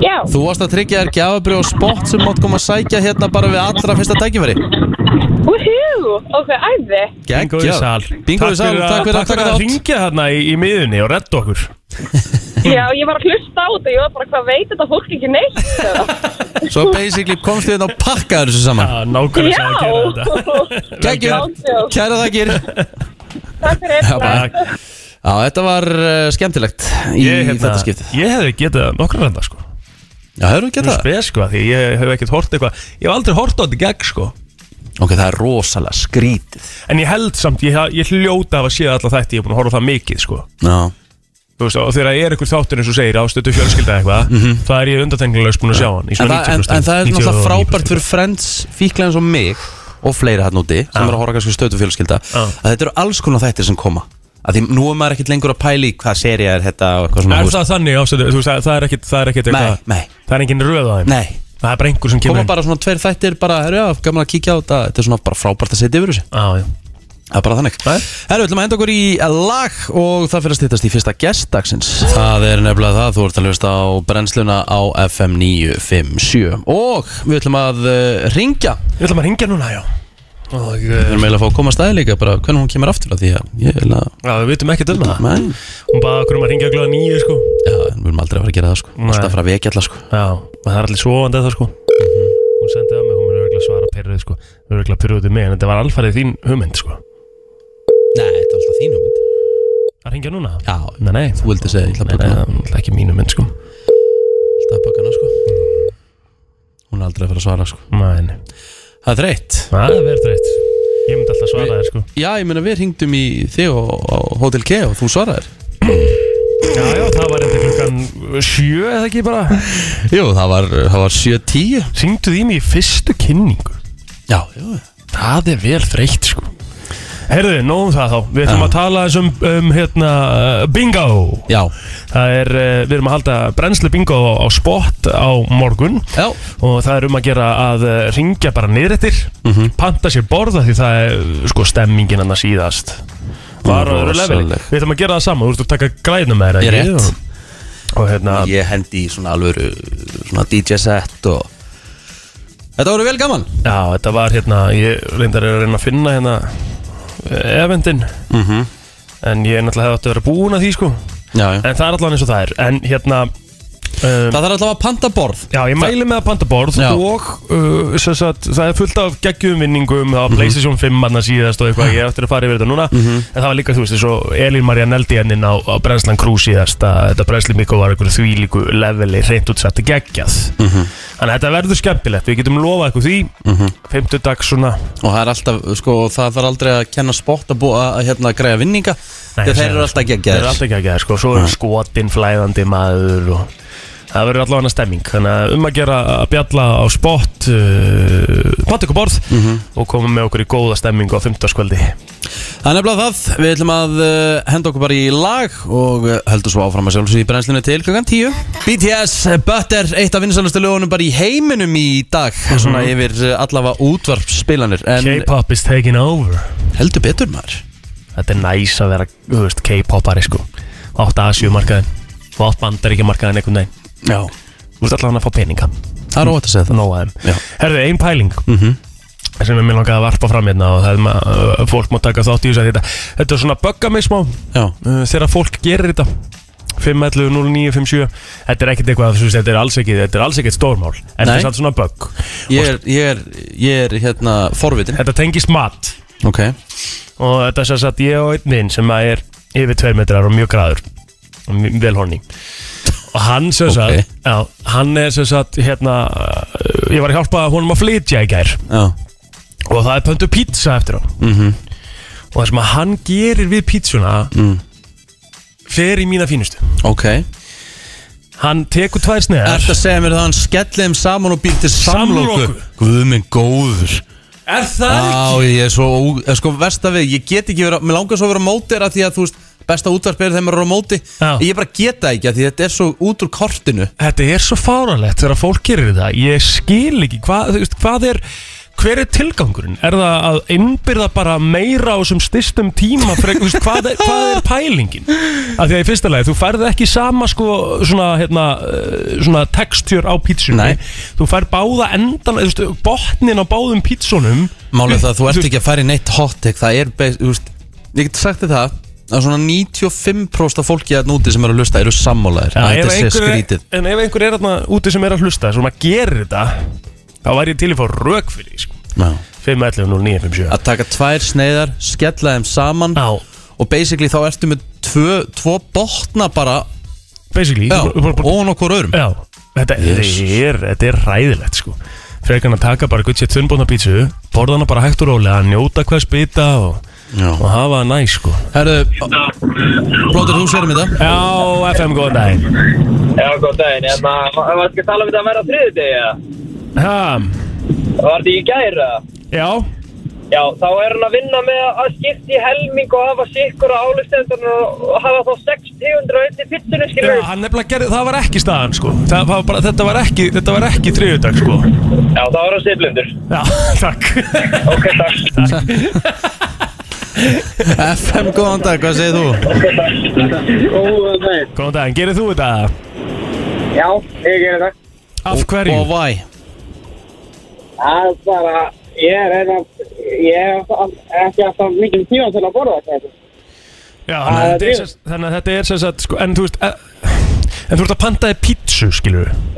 Speaker 6: Já.
Speaker 1: þú varst að tryggja þér gjafabrið og spott sem mátt koma að sækja hérna bara við allra fyrsta tækifæri
Speaker 6: Woohoo! Ok, æði.
Speaker 2: Bingo í
Speaker 1: Geggjað.
Speaker 2: sal
Speaker 1: Bingo í sal, takk fyrir að taka
Speaker 2: Takk fyrir að
Speaker 1: þátt
Speaker 2: ringja þarna í, í miðunni og redda okkur
Speaker 6: Já, ég var að hlusta á þetta. Ég var bara, hvað veit þetta fólk ekki neitt?
Speaker 1: Svo basically komst við þetta og pakkaður þessu saman
Speaker 2: Já, nákvæmlega sem að gera þetta
Speaker 6: Já.
Speaker 1: Geggjum,
Speaker 6: gert.
Speaker 1: kæra þakkir
Speaker 6: Takk fyrir.
Speaker 1: Já, bara-
Speaker 2: Takk.
Speaker 1: Já, þetta var uh, skemmtilegt í
Speaker 2: Ég, hérna,
Speaker 1: þetta skipti
Speaker 2: ég hefði getað nokkra renda sko
Speaker 1: Já, hefur við getað það?
Speaker 2: spes sko, því ég hef ekkert hort eitthvað ég hef aldrei hort á þetta í gegn sko
Speaker 1: Ok, það er rosalega skrítið
Speaker 2: en ég held samt, ég, ég hljóta að hafa séð alltaf þetta, ég er búin að horfa á það mikið sko
Speaker 1: Já,
Speaker 2: þú veist, og þegar það er einhver þáttur eins og segir ástötu fjölskylda eitthvað, mm -hmm. það er ég undartenglulegs búin að sjá hann
Speaker 1: Mhm. en,
Speaker 2: í svona
Speaker 1: það, en,
Speaker 2: 90%,
Speaker 1: en það er náttúrulega
Speaker 2: 99%.
Speaker 1: frábært fyrir friends fíkla eins og mig og fleiri hann úti sem
Speaker 2: Já.
Speaker 1: eru að horfa kannski stötu fjölskylda
Speaker 2: Já.
Speaker 1: að þetta eru alls konar þættir sem koma að því nú er maður ekkert lengur að pæla í hvað serið er þetta og eitthvað svona
Speaker 2: er
Speaker 1: þú veist.
Speaker 2: það þannig ástötu, þú veist, það það er ekkert það er ekkert
Speaker 1: Nei,
Speaker 2: eitthvað,
Speaker 1: nei,
Speaker 2: það er engin röð á þeim
Speaker 1: nei
Speaker 2: það er bara einhver sem kemur
Speaker 1: koma
Speaker 2: inn.
Speaker 1: bara svona tveir þættir bara, herru já, gaman að kíkja á þetta þetta er svona bara frábært að setja yfir þessu
Speaker 2: Á, já.
Speaker 1: það er bara þannig
Speaker 2: Nei.
Speaker 1: herru, við ætlum að enda okkur í lag og það fyrir að stýttast í fyrsta gestdagsins það er nefnilega það, þú ert að hlusta á brennsluna á FM 957 og við ætlum að uh, ringja við
Speaker 2: Við ætlum að ringja núna, já og eh,
Speaker 1: erum eiginlega að fá að koma að staði líka bara hvernig hún kemur aftur að því að ég vil að
Speaker 2: já, við vitum ekkert um það
Speaker 1: Nei,
Speaker 2: hún baða okkur um að ringja glöða nýju sko
Speaker 1: já, en við erum aldrei að fara að gera það sko
Speaker 2: Nei.
Speaker 1: Alltaf að fara að vekja alla sko
Speaker 2: Já, og það er allir svovandi eða sko
Speaker 1: Mhm.
Speaker 2: Hún sendið að mig, hún er örgulega að svara pyrruð sko Hún er örgulega pyrruð út í mig, en þetta var alfarið þín hugmynd sko
Speaker 1: Nei, þetta er alltaf þínu mynd
Speaker 2: Það ringja núna?
Speaker 1: Já,
Speaker 2: Nei, nei,
Speaker 1: þú vildi segja, ég ætla
Speaker 2: nei,
Speaker 1: að baka
Speaker 2: nei, það er náttúrulega ekki mínu mynd sko
Speaker 1: Alltaf að baka hana sko Hún er aldrei að fara að svara sko
Speaker 2: Nei, nei,
Speaker 1: Það er reitt
Speaker 2: það er verið reitt Ég myndi alltaf svara þér sko
Speaker 1: Já, ég meina við hringdum í þig á, á Hotel K og þú svaraðir
Speaker 2: Já, já, það var enda klukkan sjö eða ekki bara
Speaker 1: Jú, það var, það var 7.10
Speaker 2: Syngduð í mig í fyrstu kynningu
Speaker 1: Já, jú
Speaker 2: Það er vel þreytt sko Herðu, nóðum það þá Við ætlum að tala aðeins um, um hérna, uh, um, bingo
Speaker 1: Já,
Speaker 2: Það er, eh, við erum að halda brennslu bingo á, á spot á morgun
Speaker 1: Já,
Speaker 2: og það er um að gera að eh, ringja bara niður eftir panta sér borða því það er sko stemmingin hann að síðast var á öðru leveli
Speaker 7: Rosaleg.
Speaker 2: við ætlum að gera það saman, þú ert að taka græna með þér
Speaker 7: Ég
Speaker 2: ekki?
Speaker 7: rétt.
Speaker 2: Og- og hérna,
Speaker 7: Ég hendi í svona alvöru svona DJ set og
Speaker 1: þetta voru vel gaman
Speaker 2: já, þetta var hérna ég reyndar er að reyna að finna hérna eh, eventin
Speaker 7: Mhm.
Speaker 2: en ég náttúrulega hefði átti að vera búin að því sko
Speaker 7: Já, já
Speaker 2: en það er allavega eins og það er en hérna um,
Speaker 1: Það þarf alltaf að panta borð
Speaker 2: Já, ég mæli með að panta borð
Speaker 1: Já.
Speaker 2: og uh, sem sagt, það er fullt af geggjum vinningum, það var Playstation 5 manna síðast og eitthvað, ég ættir að fara yfir þetta núna en það var líka, þú veist, eins og Elín Maria Neldi hennin á, á Brenslan Crew síðast að þetta Brensli Mikko var einhverju þvílíku leveli reynt útsett að geggjað þannig að þetta verður skemmtilegt, við getum lofað eitthvað því, 50 dags svona
Speaker 7: Og það er alltaf, sko, það þarf aldrei að kenna spott að, búa, að hérna, greiða vinninga
Speaker 2: Nei,
Speaker 7: Þegar
Speaker 2: ég
Speaker 7: þeir eru
Speaker 2: segi það,
Speaker 1: sko.
Speaker 7: alltaf
Speaker 2: Þeir eru
Speaker 7: geggjaðir Ah.
Speaker 2: alltaf geggjaðir sko, svo eru skotin flæðandi maður og það verður allavega stemming þannig að um að gera að bjalla á spott uh, panta ykkur borð
Speaker 7: Mhm.
Speaker 2: og koma með okkur í góða stemmingu á 15. skvöldi
Speaker 1: Það er nefnilega það, við ætlum að uh, henda okkur bara í lag og uh, höldum svo áfram að sjálfsög í brennslinu til klokkan 10 BTS eh, Butter, eitt af vinsalustu lögunum bara í heiminum í dag svona yfir uh, allavega útvarpspilanir en
Speaker 2: K-pop is taking over
Speaker 1: heldur betur maður
Speaker 2: þetta er næs að vera þú veist, K-popari sko átt Asjumarkaðin og átt Bandaríkjamarkaðin einhvern veginn
Speaker 1: Já,
Speaker 2: þú ert allavega að fá peninga
Speaker 1: það er óvægt að segja það
Speaker 2: nóg að
Speaker 1: Já.
Speaker 2: þeim Herðu, ein pæling
Speaker 7: Mhm.
Speaker 2: sem er mér langaði að varpa fram hérna og það er maður, uh, fólk má taka þátt í þessu að þetta þetta er svona að bögga mig smá
Speaker 1: Já.
Speaker 2: uh, þegar fólk gerir þetta 511 0957 þetta er ekkert eitthvað, þú veist, þetta er alls ekki þetta er alls ekkert stórmál, en þetta
Speaker 1: Nei.
Speaker 2: er samt svona bögg
Speaker 1: Ég er, ég er, ég er hérna forvitin
Speaker 2: þetta tengist mat
Speaker 1: Ok
Speaker 2: og þetta er sem sagt ég og einn vinn sem að er yfir 2 metrar og mjög græður og mj- vel honni og hann sem sagt,
Speaker 1: Ok.
Speaker 2: já, hann er sem sagt hérna, uh, ég var að hjálpa honum að flytja í gær
Speaker 1: Já
Speaker 2: og það er pöntu pizza eftir á -hmm.
Speaker 1: Mhm.
Speaker 2: og það sem að hann gerir við pizzuna mm. fer í mína fínustu
Speaker 1: Ok
Speaker 2: hann tekur tvær sneðar
Speaker 1: Ertu að segja mér það að hann skelli þeim saman og býr til samlóku
Speaker 2: Samloku?
Speaker 1: Guð minn góður
Speaker 2: er það
Speaker 1: Á ég er svo ó- eh, Sko versta við Ég get ekki verið Mér langar svo að vera mótir Af því að þú veist Besta útvarp er þegar maður er á móti
Speaker 2: Já.
Speaker 1: Ég bara geta ekki af Því þetta er svo út úr kortinu
Speaker 2: þetta er svo fáralegt þegar fólk gerir þetta ég skil ekki hvað, þú veist, hvað er hver er tilgangurinn? Er það að innbyrða bara meira á þessum styrstum tíma frek, þú veist, hvað, er, hvað er pælingin? Af því að í fyrsta lagi, þú færð ekki sama sko, svona, hérna, eh, svona textjur á pítsunni
Speaker 1: Nei.
Speaker 2: þú færð báða endan, þú veist, botnin á báðum pítsunum
Speaker 1: Málið það að þú ert ekki að fara í neitt hot take Það er best Þú veist Ég get sagt þér það að svona 95% af fólki að núti sem eru að lusta eru sammálaðir
Speaker 2: Já,
Speaker 1: að þetta
Speaker 2: ef
Speaker 1: sé
Speaker 2: einhver er-
Speaker 1: skrítið
Speaker 2: En ef einhver er þarna úti sem er að hlusta sem að gera þetta þá væri ég til að fá rök fyrir því sko.
Speaker 1: Já.
Speaker 2: 5.11.09.57
Speaker 1: að taka tvær sneiðar, skella þeim saman
Speaker 2: Já,
Speaker 1: og basically þá ertu með tvö, tvo botna bara
Speaker 2: basically
Speaker 1: já,
Speaker 2: þú bara- bara-
Speaker 1: ofan okkur öðrum
Speaker 2: já þetta, þetta, er, þetta er ræðilegt sko Frekan að taka bara guttsétt þunnbóna pítsu borða hana bara hægt og rólega að njóta hvers bita og, og hafa það næ sko
Speaker 1: Herðu, Blóður, þú sérum þetta
Speaker 2: Já, FM góðan daginn
Speaker 4: Já, góð daginn, en maður var ekki að tala um þetta að vera á þriði degi,
Speaker 2: ha,
Speaker 4: var þetta í gæra?
Speaker 2: Já,
Speaker 4: Já, þá er hann að vinna með að skipta í helming og hafa sikkur á álustendunar og hafa þá 600 og undir pittunum,
Speaker 2: já
Speaker 4: skilur við.
Speaker 2: hann nefnilega gerði, það var ekki staðan sko það, var bara, þetta, var ekki, þetta var ekki þriðudag sko
Speaker 4: Já, þá er hann siflundur.
Speaker 2: Já, takk
Speaker 4: Ok, takk.
Speaker 1: FM, góðan dag, hvað segir þú?
Speaker 4: Góða daginn.
Speaker 2: Góðan daginn, gerir þú þetta?
Speaker 4: Já, ég gerir það.
Speaker 2: Af hverju?
Speaker 1: Og væ
Speaker 4: Það er bara, ég er einn af, ég er ekki alltaf mikil tíma til að borða þetta.
Speaker 2: Já, þannig að
Speaker 4: Að
Speaker 2: þetta er
Speaker 4: því-
Speaker 2: sem- þannig að þetta er sem sagt, sko, en þú veist, eh, en þú ert að pantaði pítsu, skilur við.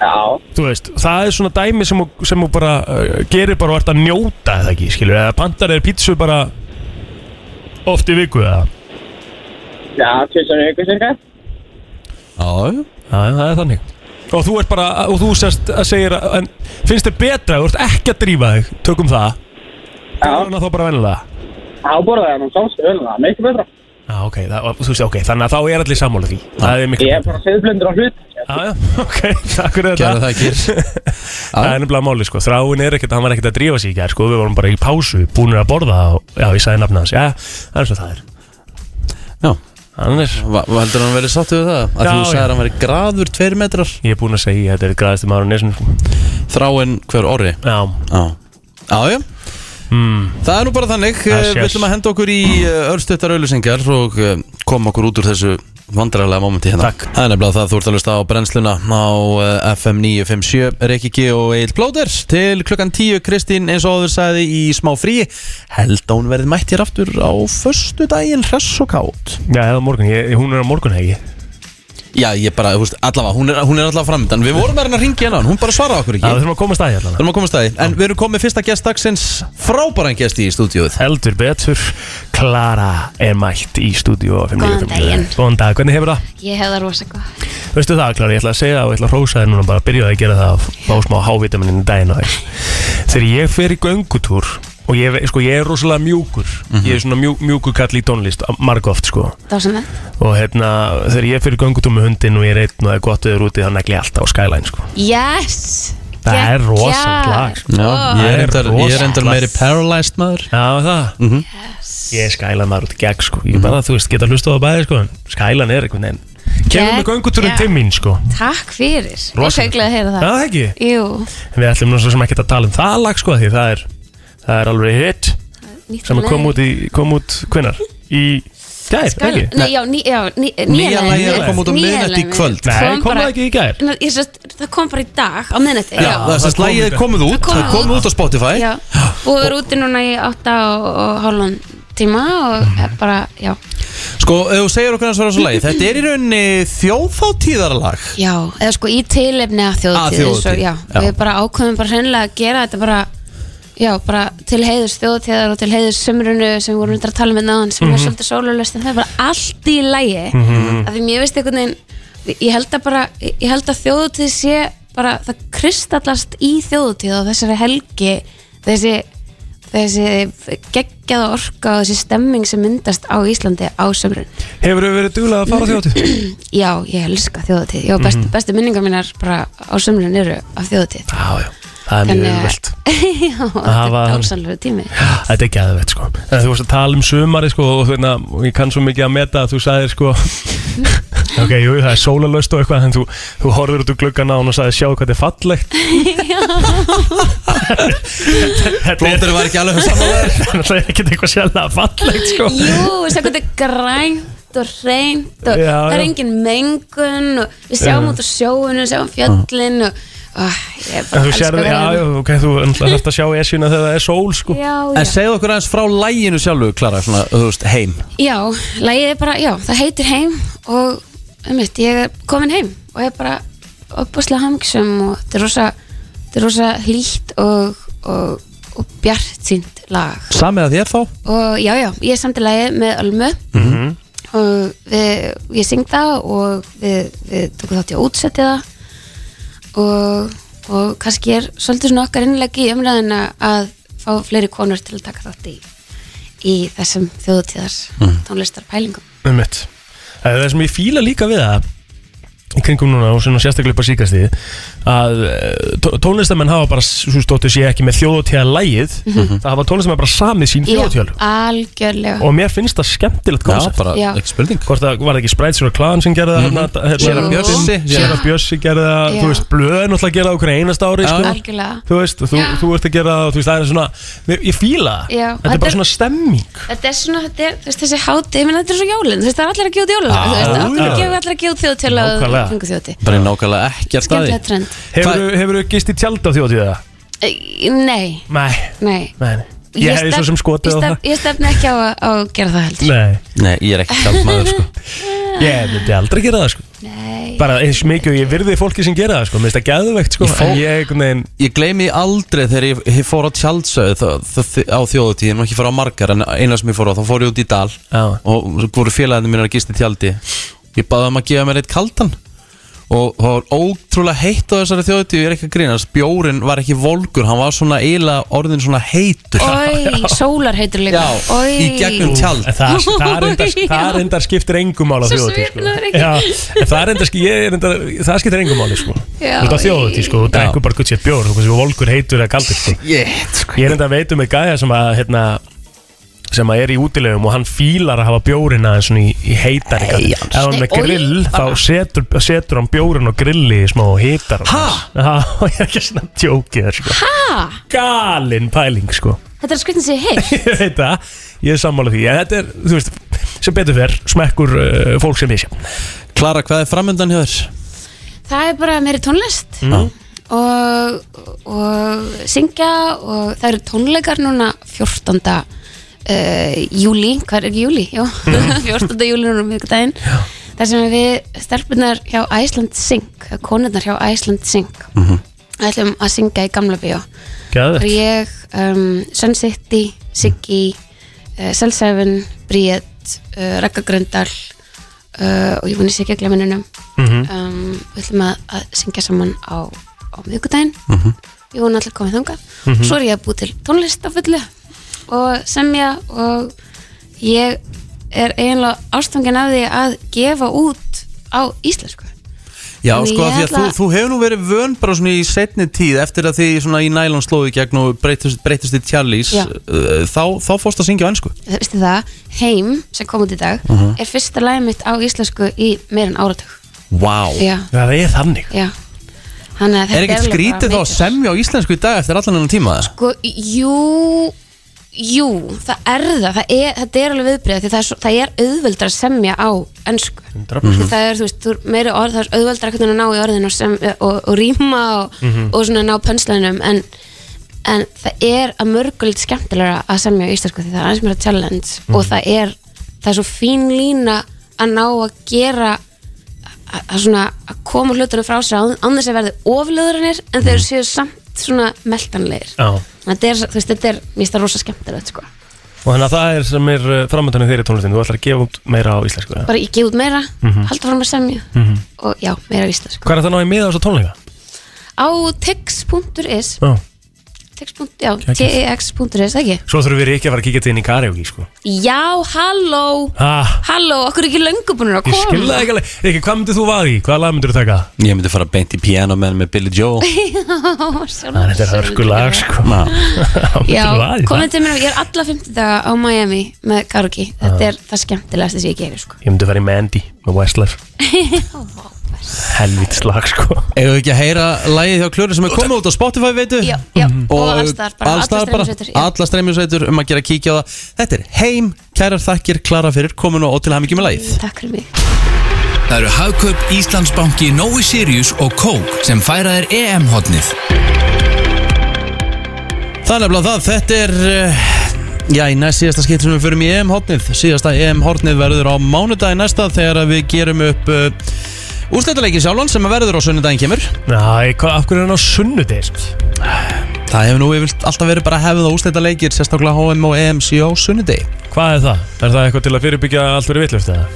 Speaker 4: Já.
Speaker 2: Þú veist, það er svona dæmi sem þú- sem þú bara uh, gerir bara og ert að njóta eða ekki, skilur við, eða pantar þér pítsu bara oft í viku eða.
Speaker 4: Já, tvisar ykkur cirka.
Speaker 1: Já,
Speaker 2: Já, það er þannig. Og þú ert bara, og þú sérst að segir, að- en finnst þér betra, þú ert ekki að drífa þig, tökum það,
Speaker 4: Já,
Speaker 2: þannig að þá bara vennilega.
Speaker 4: þá borða það nú samstu vel, það er mikil betra.
Speaker 2: Já, ok, það, og þú veist, ok, þannig að þá er allir sammála því. Það er miklu.
Speaker 4: Ég er bara siflundur á hlut.
Speaker 2: Já, já, ok, takk fyrir þetta.
Speaker 1: gerðu það ekki
Speaker 2: Það er nefnilega máli sko, þráin er ekkert, hann var ekkert að drífa sig í gær sko, við vorum bara í pásu, búinir að borða og já, ég sagði nafna hans, já, það er svo það er.
Speaker 1: Já,
Speaker 2: Annars,
Speaker 1: Va- va- Heldur hann verið sáttu við það? Að
Speaker 2: Já,
Speaker 1: þú sagði
Speaker 2: já.
Speaker 1: að hann verið graður tveir metrar
Speaker 2: ég er búinn að segja, þetta er græðist um ára nesun sko.
Speaker 1: Þráinn hver orri
Speaker 2: Já,
Speaker 1: Já, já, já.
Speaker 2: mm,
Speaker 1: Það er nú bara þannig,
Speaker 2: Yes,
Speaker 1: yes, við
Speaker 2: yes.
Speaker 1: ætlum að henda okkur í eh, örstuttar auðlýsingar og eh, koma okkur út úr þessu vandrarlega momenti hérna.
Speaker 2: Takk.
Speaker 1: Það er nefnilega það, þú ert að lusta á brennsluna á eh, FM 957, Rikki G og Egil Plóter til klukkan 10, Kristín eins og áður sagði í smá frí, held að hún verði mætt hér aftur á förstu daginn hress og kátt.
Speaker 2: já, eða morgun, ég, hún er á morgun hegi
Speaker 1: Já, ég bara, þú veist, allavega, hún er, hún er allavega framöndan, við vorum að reyna að ringja hérna, hún bara svaraði okkur
Speaker 2: Já, við
Speaker 1: ekki.
Speaker 2: þurfum að komast að hérna
Speaker 1: Þurfum að komast að því, en við erum komið fyrsta gest dagsins, frábæran gest í stúdíóið.
Speaker 2: Heldur betur, Klara er mætt í stúdíu
Speaker 8: Góðan daginn.
Speaker 2: Góðan dag, hvernig hefur það?
Speaker 8: Ég hef það rosa gott.
Speaker 2: Veistu það, Klara, ég ætla að segja og ég ætla að rósa þér núna bara að byrja að gera það að fá smá hávitaminin í daginn og þess Þegar ég fer í göngutúr og ég, sko, ég er rosalega mjúkur
Speaker 8: Mhm.
Speaker 2: Ég er svona mjú, mjúkur kall í tónlist margóft, sko
Speaker 8: Það var sem það.
Speaker 2: og hérna, þegar ég fyrir göngutúr með hundin og ég er einn og það er gott viður úti þá negli ég alltaf á Skyline sko.
Speaker 8: Yes!
Speaker 2: það er
Speaker 8: Geggjað.
Speaker 2: rosalegt lag, sko.
Speaker 1: Já, ég er
Speaker 2: Það er
Speaker 1: reyndar- ég er
Speaker 2: rosalegt.
Speaker 1: endar meiri paralyzed maður
Speaker 2: Já, það
Speaker 8: Mm.
Speaker 2: ég er Skyline maður út í gegn sko.
Speaker 8: Mhm.
Speaker 2: ég bara, þú veist, geta hlustað á bæði sko. en Skyline er einhvern veginn kemur með
Speaker 8: Geggjað.
Speaker 2: göngutúrin til mín sko.
Speaker 8: Takk fyrir. Ég er
Speaker 2: Rosa.
Speaker 8: feglað að
Speaker 2: Já,
Speaker 8: heyra það.
Speaker 2: það ekki
Speaker 8: Jú,
Speaker 2: en við ætlum nú svo sem ekki að tala um það lag sko, því það er, það er alveg hit
Speaker 8: nýtt
Speaker 2: sem
Speaker 8: lag.
Speaker 2: kom út, í, kom út hvenær? í gær,
Speaker 8: Skal-
Speaker 2: ekki?
Speaker 8: Nei, já, ný, já, ný,
Speaker 1: Nýja lagið er að koma út á
Speaker 8: nýja
Speaker 1: miðnætti í
Speaker 8: lagið.
Speaker 1: kvöld.
Speaker 2: Nei, kom
Speaker 8: bara-
Speaker 2: það ekki í gær?
Speaker 8: Nei, ég sést, Það kom bara í dag á miðnætti.
Speaker 1: Já, það er
Speaker 2: það
Speaker 1: sérst
Speaker 2: kom
Speaker 1: lagið er
Speaker 2: líka.
Speaker 1: komið út
Speaker 8: Það kom
Speaker 1: Það er komið út á Spotify
Speaker 8: Já, búið er úti núna í átta og, og hálfan tíma og
Speaker 2: Mhm.
Speaker 8: mm. bara, já,
Speaker 1: Sko, ef þú segir okkur hans verður á þessu lagi Þetta er í rauninni þjóðfáttíðarlag
Speaker 8: já, eða sko í tilefni að
Speaker 1: Að
Speaker 8: þjóðtíð,
Speaker 1: þjóðhátíð,
Speaker 8: já,
Speaker 1: já.
Speaker 8: við bara ákveðum bara hreinlega að gera þetta bara, já, bara til heiðus þjóðtíðar og til heiðus sömrunu sem við vorum reyndar að tala með náðan sem
Speaker 1: Mhm.
Speaker 8: er svolítið sólulöst en það er bara allt í lægi af því mér veist einhvern veginn, ég held að bara, ég held að þjóðtíð sé bara, það kristallast í þjóðtíð og þessari helgi, þessi þessi geggjaða orka og þessi stemming sem myndast á Íslandi á sömrun
Speaker 2: hefur við verið duglega að fara á þjóttu?
Speaker 8: Já, ég elska þjóðatíð Já, best,
Speaker 2: Mhm.
Speaker 8: bestu minningar mínar bara á sömrun eru af
Speaker 2: já,
Speaker 8: þjóðatíð
Speaker 2: já, það er mjög
Speaker 8: Þannig að-
Speaker 2: vilt
Speaker 8: Já, þetta
Speaker 2: var-
Speaker 8: er dásalegu tími
Speaker 2: Þetta er gæðvett sko en Þú varst að tala um sumari sko og þú veitna, ég kann svo mikið að meta að þú sagðir sko Ok, jú, það er sólalöst og eitthvað en þú, þú horfður út úr gluggan á hann og sagði sjáðu hvað þetta er fallegt Þetta er
Speaker 1: Blóttir var ekki alveg samanlega
Speaker 2: Það er ekkert eitthvað sjálflega fallegt sko
Speaker 8: Jú, þess að þetta er grænt og reynt og
Speaker 2: Já,
Speaker 8: það er
Speaker 2: já.
Speaker 8: engin mengun og við sjáum
Speaker 2: Já.
Speaker 8: út á sjóinu, sjáum fjöllin og ah, ég bara
Speaker 2: En Þú sér, já, já, ok, þú ætlast að sjá esjuna þegar það er sól sko
Speaker 8: já, já.
Speaker 1: En segðu okkur hans frá læginu sjálfu, Klara Svona, þú veist, heim
Speaker 8: Já, lagið er bara, já, það heitir heim og um ég er komin heim og ég er bara uppbúslega hamingsum og þetta er rosa, þetta er rosa hlýtt og, og, og bjart sínt lag
Speaker 1: Samið að þér þá
Speaker 8: og já, já, ég er samt í lagið með Ölmu
Speaker 2: Mhm.
Speaker 8: Mhm. og við, ég syng það og við, við tökum þátt í að útsetja það og, og kannski er svolítið svona okkar innlegi í umræðina að fá fleiri konur til að taka þátt í, í þessum þjóðutíðars tónlistarpælingum
Speaker 2: Um mitt Það sem ég fíla líka við það í kringum núna og svona sérstaklega upp á síkastíð að eh, tó- tónlistamenn hafa bara svo stóttu sé ekki með þjóðutíða lægið
Speaker 1: Mhm.
Speaker 2: það hafa tónlistamenn bara samið sín þjóðutíðalög
Speaker 8: algjörlega
Speaker 2: og mér finnst það skemmtilegt
Speaker 1: Já,
Speaker 2: koncept
Speaker 1: bara,
Speaker 8: Já.
Speaker 1: ekki spurning
Speaker 2: hvort það var það ekki Sprites og Klan sem gerði það mm -hmm.
Speaker 1: Séra Bjössi
Speaker 2: Séra Bjössi gerði það,
Speaker 8: Já.
Speaker 2: þú veist, Blöð er náttúrulega að gera það okkur einast ári
Speaker 1: Já.
Speaker 2: sko.
Speaker 8: algjörlega
Speaker 2: þú veist, þú,
Speaker 8: Já.
Speaker 2: þú ert að gera það og þú veist, það er svona, mér- ég fíla það.
Speaker 8: Já.
Speaker 2: þetta er bara svona stemming
Speaker 8: Þetta er svona, þetta er, þú veist, þessi háti, ég meina þetta er svo jólinn, þú veist, það er allir að gefa út jólinn, þú
Speaker 2: já.
Speaker 8: veist, okkur er gefið allir að gefa út þjóðtíðala
Speaker 2: Ah. Nákvæmlega.
Speaker 8: og fengu þjóðtíð.
Speaker 1: Bara er nákvæmlega ekki að staði
Speaker 8: Skemmtilega trend.
Speaker 2: Hefurðu- hefurðu gist í tjald á þjóðtíða?
Speaker 8: E, Nei,
Speaker 2: Nei,
Speaker 8: nei.
Speaker 2: nei, nei. Ég, ég hefði
Speaker 8: stefn-
Speaker 2: svo sem skotið
Speaker 8: ég
Speaker 2: á það
Speaker 8: stefn- Ég stefni ekki á að, á að gera það heldur.
Speaker 2: Nei,
Speaker 1: Nei, ég er ekki kald maður, sko
Speaker 2: ég myndi aldrei gera það sko.
Speaker 8: Nei.
Speaker 2: bara eins mikið og ég virði fólki sem gera það sko. mér finnst það gæðvegt sko.
Speaker 1: Ég fó-
Speaker 2: en ég einhvern veginn
Speaker 1: Ég gleymi því aldrei þegar ég, ég fór á tjaldsöð þ- þ- á þjóðutíð, nú ekki fór á margar en eina sem ég fór á, þá fór ég út í dal
Speaker 2: Já.
Speaker 1: og svo voru félaginu mínar að gista í tjaldi ég baði um að gefa mér eitt kaldan og það var ótrúlega heitt á þessari þjóðutíð, ég er ekki að grínast bjórin var ekki volgur, hann var svona eiginlega orðin svona heitur
Speaker 8: Ói, sólar heitur líka.
Speaker 1: Já,
Speaker 8: Oi.
Speaker 1: í
Speaker 2: um
Speaker 1: gegnum tjald
Speaker 2: En Það, það, reyndar, það
Speaker 8: Já.
Speaker 2: reyndar skiptir engum mál á
Speaker 8: Svo
Speaker 2: þjóðutí
Speaker 8: svipnaður
Speaker 2: sko.
Speaker 8: ekki.
Speaker 2: Já, en það, reyndar, sk- ég er reyndar, það skiptir engum máli sko. Þú
Speaker 8: Já,
Speaker 2: ert á þjóðutí sko, þú
Speaker 1: Já.
Speaker 2: drekkur bara gutt sér bjór Þú veist, þú volkur heitur eða kaldur sko.
Speaker 1: Jétt, sko
Speaker 2: Ég er enda að veitum með gæja sem að hérna, sem að er í útilegum og hann fílar að hafa bjórin aðeins svona í, í heitar
Speaker 1: Nei,
Speaker 2: ef hann er
Speaker 8: Nei,
Speaker 2: með
Speaker 8: oj,
Speaker 2: grill þá
Speaker 8: bara.
Speaker 2: setur, setur hann bjórin og grilli í smá heitar
Speaker 9: Ha?
Speaker 2: ég er ekki svona djókið sko.
Speaker 8: Ha?
Speaker 2: galin pæling sko
Speaker 8: Þetta er skritin sér heilt
Speaker 2: ég veit það, ég er sammála því en þetta er, þú veist, sem betur fer smekkur uh, fólk sem ég sé
Speaker 1: Klara, hvað er framöndan hjá þér?
Speaker 8: Það er bara meiri tónlist og, og syngja og það eru tónleikar núna 14. Uh, júli, hvað er ekki júli? Jó, 14. júli núna um miðgudaginn þar sem við stelpunar hjá Æsland Sing, konurnar hjá Æsland Sing ætlum að syngja í gamla bíó og
Speaker 2: Gæðið
Speaker 8: ég, um, Sun City, Siggi uh, Cell 7, Bríett uh, Rekka Gröndal uh, og ég vunni Siggi að gleminunum
Speaker 2: Mhm.
Speaker 1: Mhm.
Speaker 8: um, við ætlum að, að syngja saman á, á miðgudaginn
Speaker 1: Mhm.
Speaker 8: ég vunni allir komið þangað svo er ég að búi til tónlist á fullu og semja og ég er eiginlega ástangin af því að gefa út á íslensku
Speaker 1: Já,
Speaker 8: Nei,
Speaker 1: sko,
Speaker 8: ég
Speaker 1: af því að þú,
Speaker 8: ætla-
Speaker 1: þú hefur nú verið vön bara svona í setni tíð eftir að því svona í nælon slói gegn og breytist, breytist í tjallís
Speaker 8: Já.
Speaker 1: uh, þá, þá fórst að syngja á ennsku
Speaker 8: Það veistu það, heim sem kom út í dag
Speaker 1: Mhm.
Speaker 8: er fyrsta lagið mitt á íslensku í meirinn áratug
Speaker 1: Vá
Speaker 8: já,
Speaker 2: Það er þannig
Speaker 8: já Þannig að
Speaker 1: Er
Speaker 8: þetta
Speaker 1: ekkert
Speaker 8: alveg
Speaker 1: skrítið þá
Speaker 8: bara
Speaker 1: að
Speaker 8: mikið.
Speaker 1: semja á íslensku í dag eftir allan ennum tíma?
Speaker 8: Sko, jú Jú, það er það, það er, Þetta er alveg viðbrið Því það er, svo, það er auðveldra að semja á ennsku Því það er, þú veist, þú er meiri orð Það er auðveldra hvernig að ná í orðin og, sem, og, og rýma og, og svona ná pönslænum en, en það er að mörgulegt skemmtilega að semja á íslensku Því það er aðeins meira challenge Og það er, það er svo fín lína að ná að gera að- að svona að koma hlutunum frá sér án, án þess að verði oflöðurinir en þeir séu samt svona meltanlegir
Speaker 2: Já.
Speaker 8: þetta er, þú veist, þetta er, mér finnst það rosa skemmtilegt sko.
Speaker 2: Og þannig að það er sem er framöndanum þeirri tónlistin Þú ætlar að gefa út meira á íslensku eða?
Speaker 8: bara ég gef út meira,
Speaker 2: Mhm.
Speaker 8: halda fram að semja og já, meira vísla sko.
Speaker 2: Hvað er það náði með á þessa tónleika?
Speaker 8: á tex.is
Speaker 2: Já.
Speaker 8: tex. já, tex.is, ekki?
Speaker 2: Svo þurfum við ekki að fara að kíkja til inn í karaoke sko.
Speaker 8: já, halló
Speaker 2: ah,
Speaker 8: halló, okkur er ekki löngu búinur að
Speaker 2: Ég skil
Speaker 8: koma
Speaker 2: það ekki alveg Riki, hvað myndir þú vaði? Hvaða lag myndir þú taka?
Speaker 1: Ég myndi fara beint í piano með, með Billy Joe
Speaker 8: það
Speaker 2: Þetta er hörkulag sko. Hvað myndir þú
Speaker 8: Já,
Speaker 2: vaði?
Speaker 8: komið til mér, ég er alla 50 daga á Miami með Karuki, þetta er það skemmtilegast sem ég gerir sko.
Speaker 2: Ég myndi fara í Mandy með Westlife Helvits lag sko.
Speaker 1: Eða ekki að heyra lagið hjá Klöru sem er komið út á Spotify veitu? Mm.
Speaker 8: já, já,
Speaker 2: Mhm.
Speaker 8: og allstar bara,
Speaker 1: allstar
Speaker 8: allstar
Speaker 1: bara,
Speaker 8: bara
Speaker 1: alla streymisveitur um að gera kíkja á það Þetta er heim, kærar þakkir, Klara fyrir komin og til hamingjum með lagið
Speaker 8: takk fyrir mig
Speaker 3: Það eru Hagkaup, Íslandsbanki, Nói Sirius og Kók sem færa þér E EM-hotnið.
Speaker 1: Það er nefnilega það, þetta er eh, Já, í næst síðasta skipt sem við förum í EM-hornið Síðasta EM-hornið verður á mánudagi næsta Þegar að við gerum upp uh, Úrstættaleikin sjálfan sem að verður á sunnudaginn kemur
Speaker 2: Næ, hvað, af hverju er hann á sunnudegi? sko?
Speaker 1: Það hefur nú yfirlt alltaf verið bara hefðið á úrstættaleikir Sérstaklega HM og EM síðan á sunnudegi
Speaker 2: Hvað er það? Er það eitthvað til að fyrirbyggja að allt verið vitlust eða?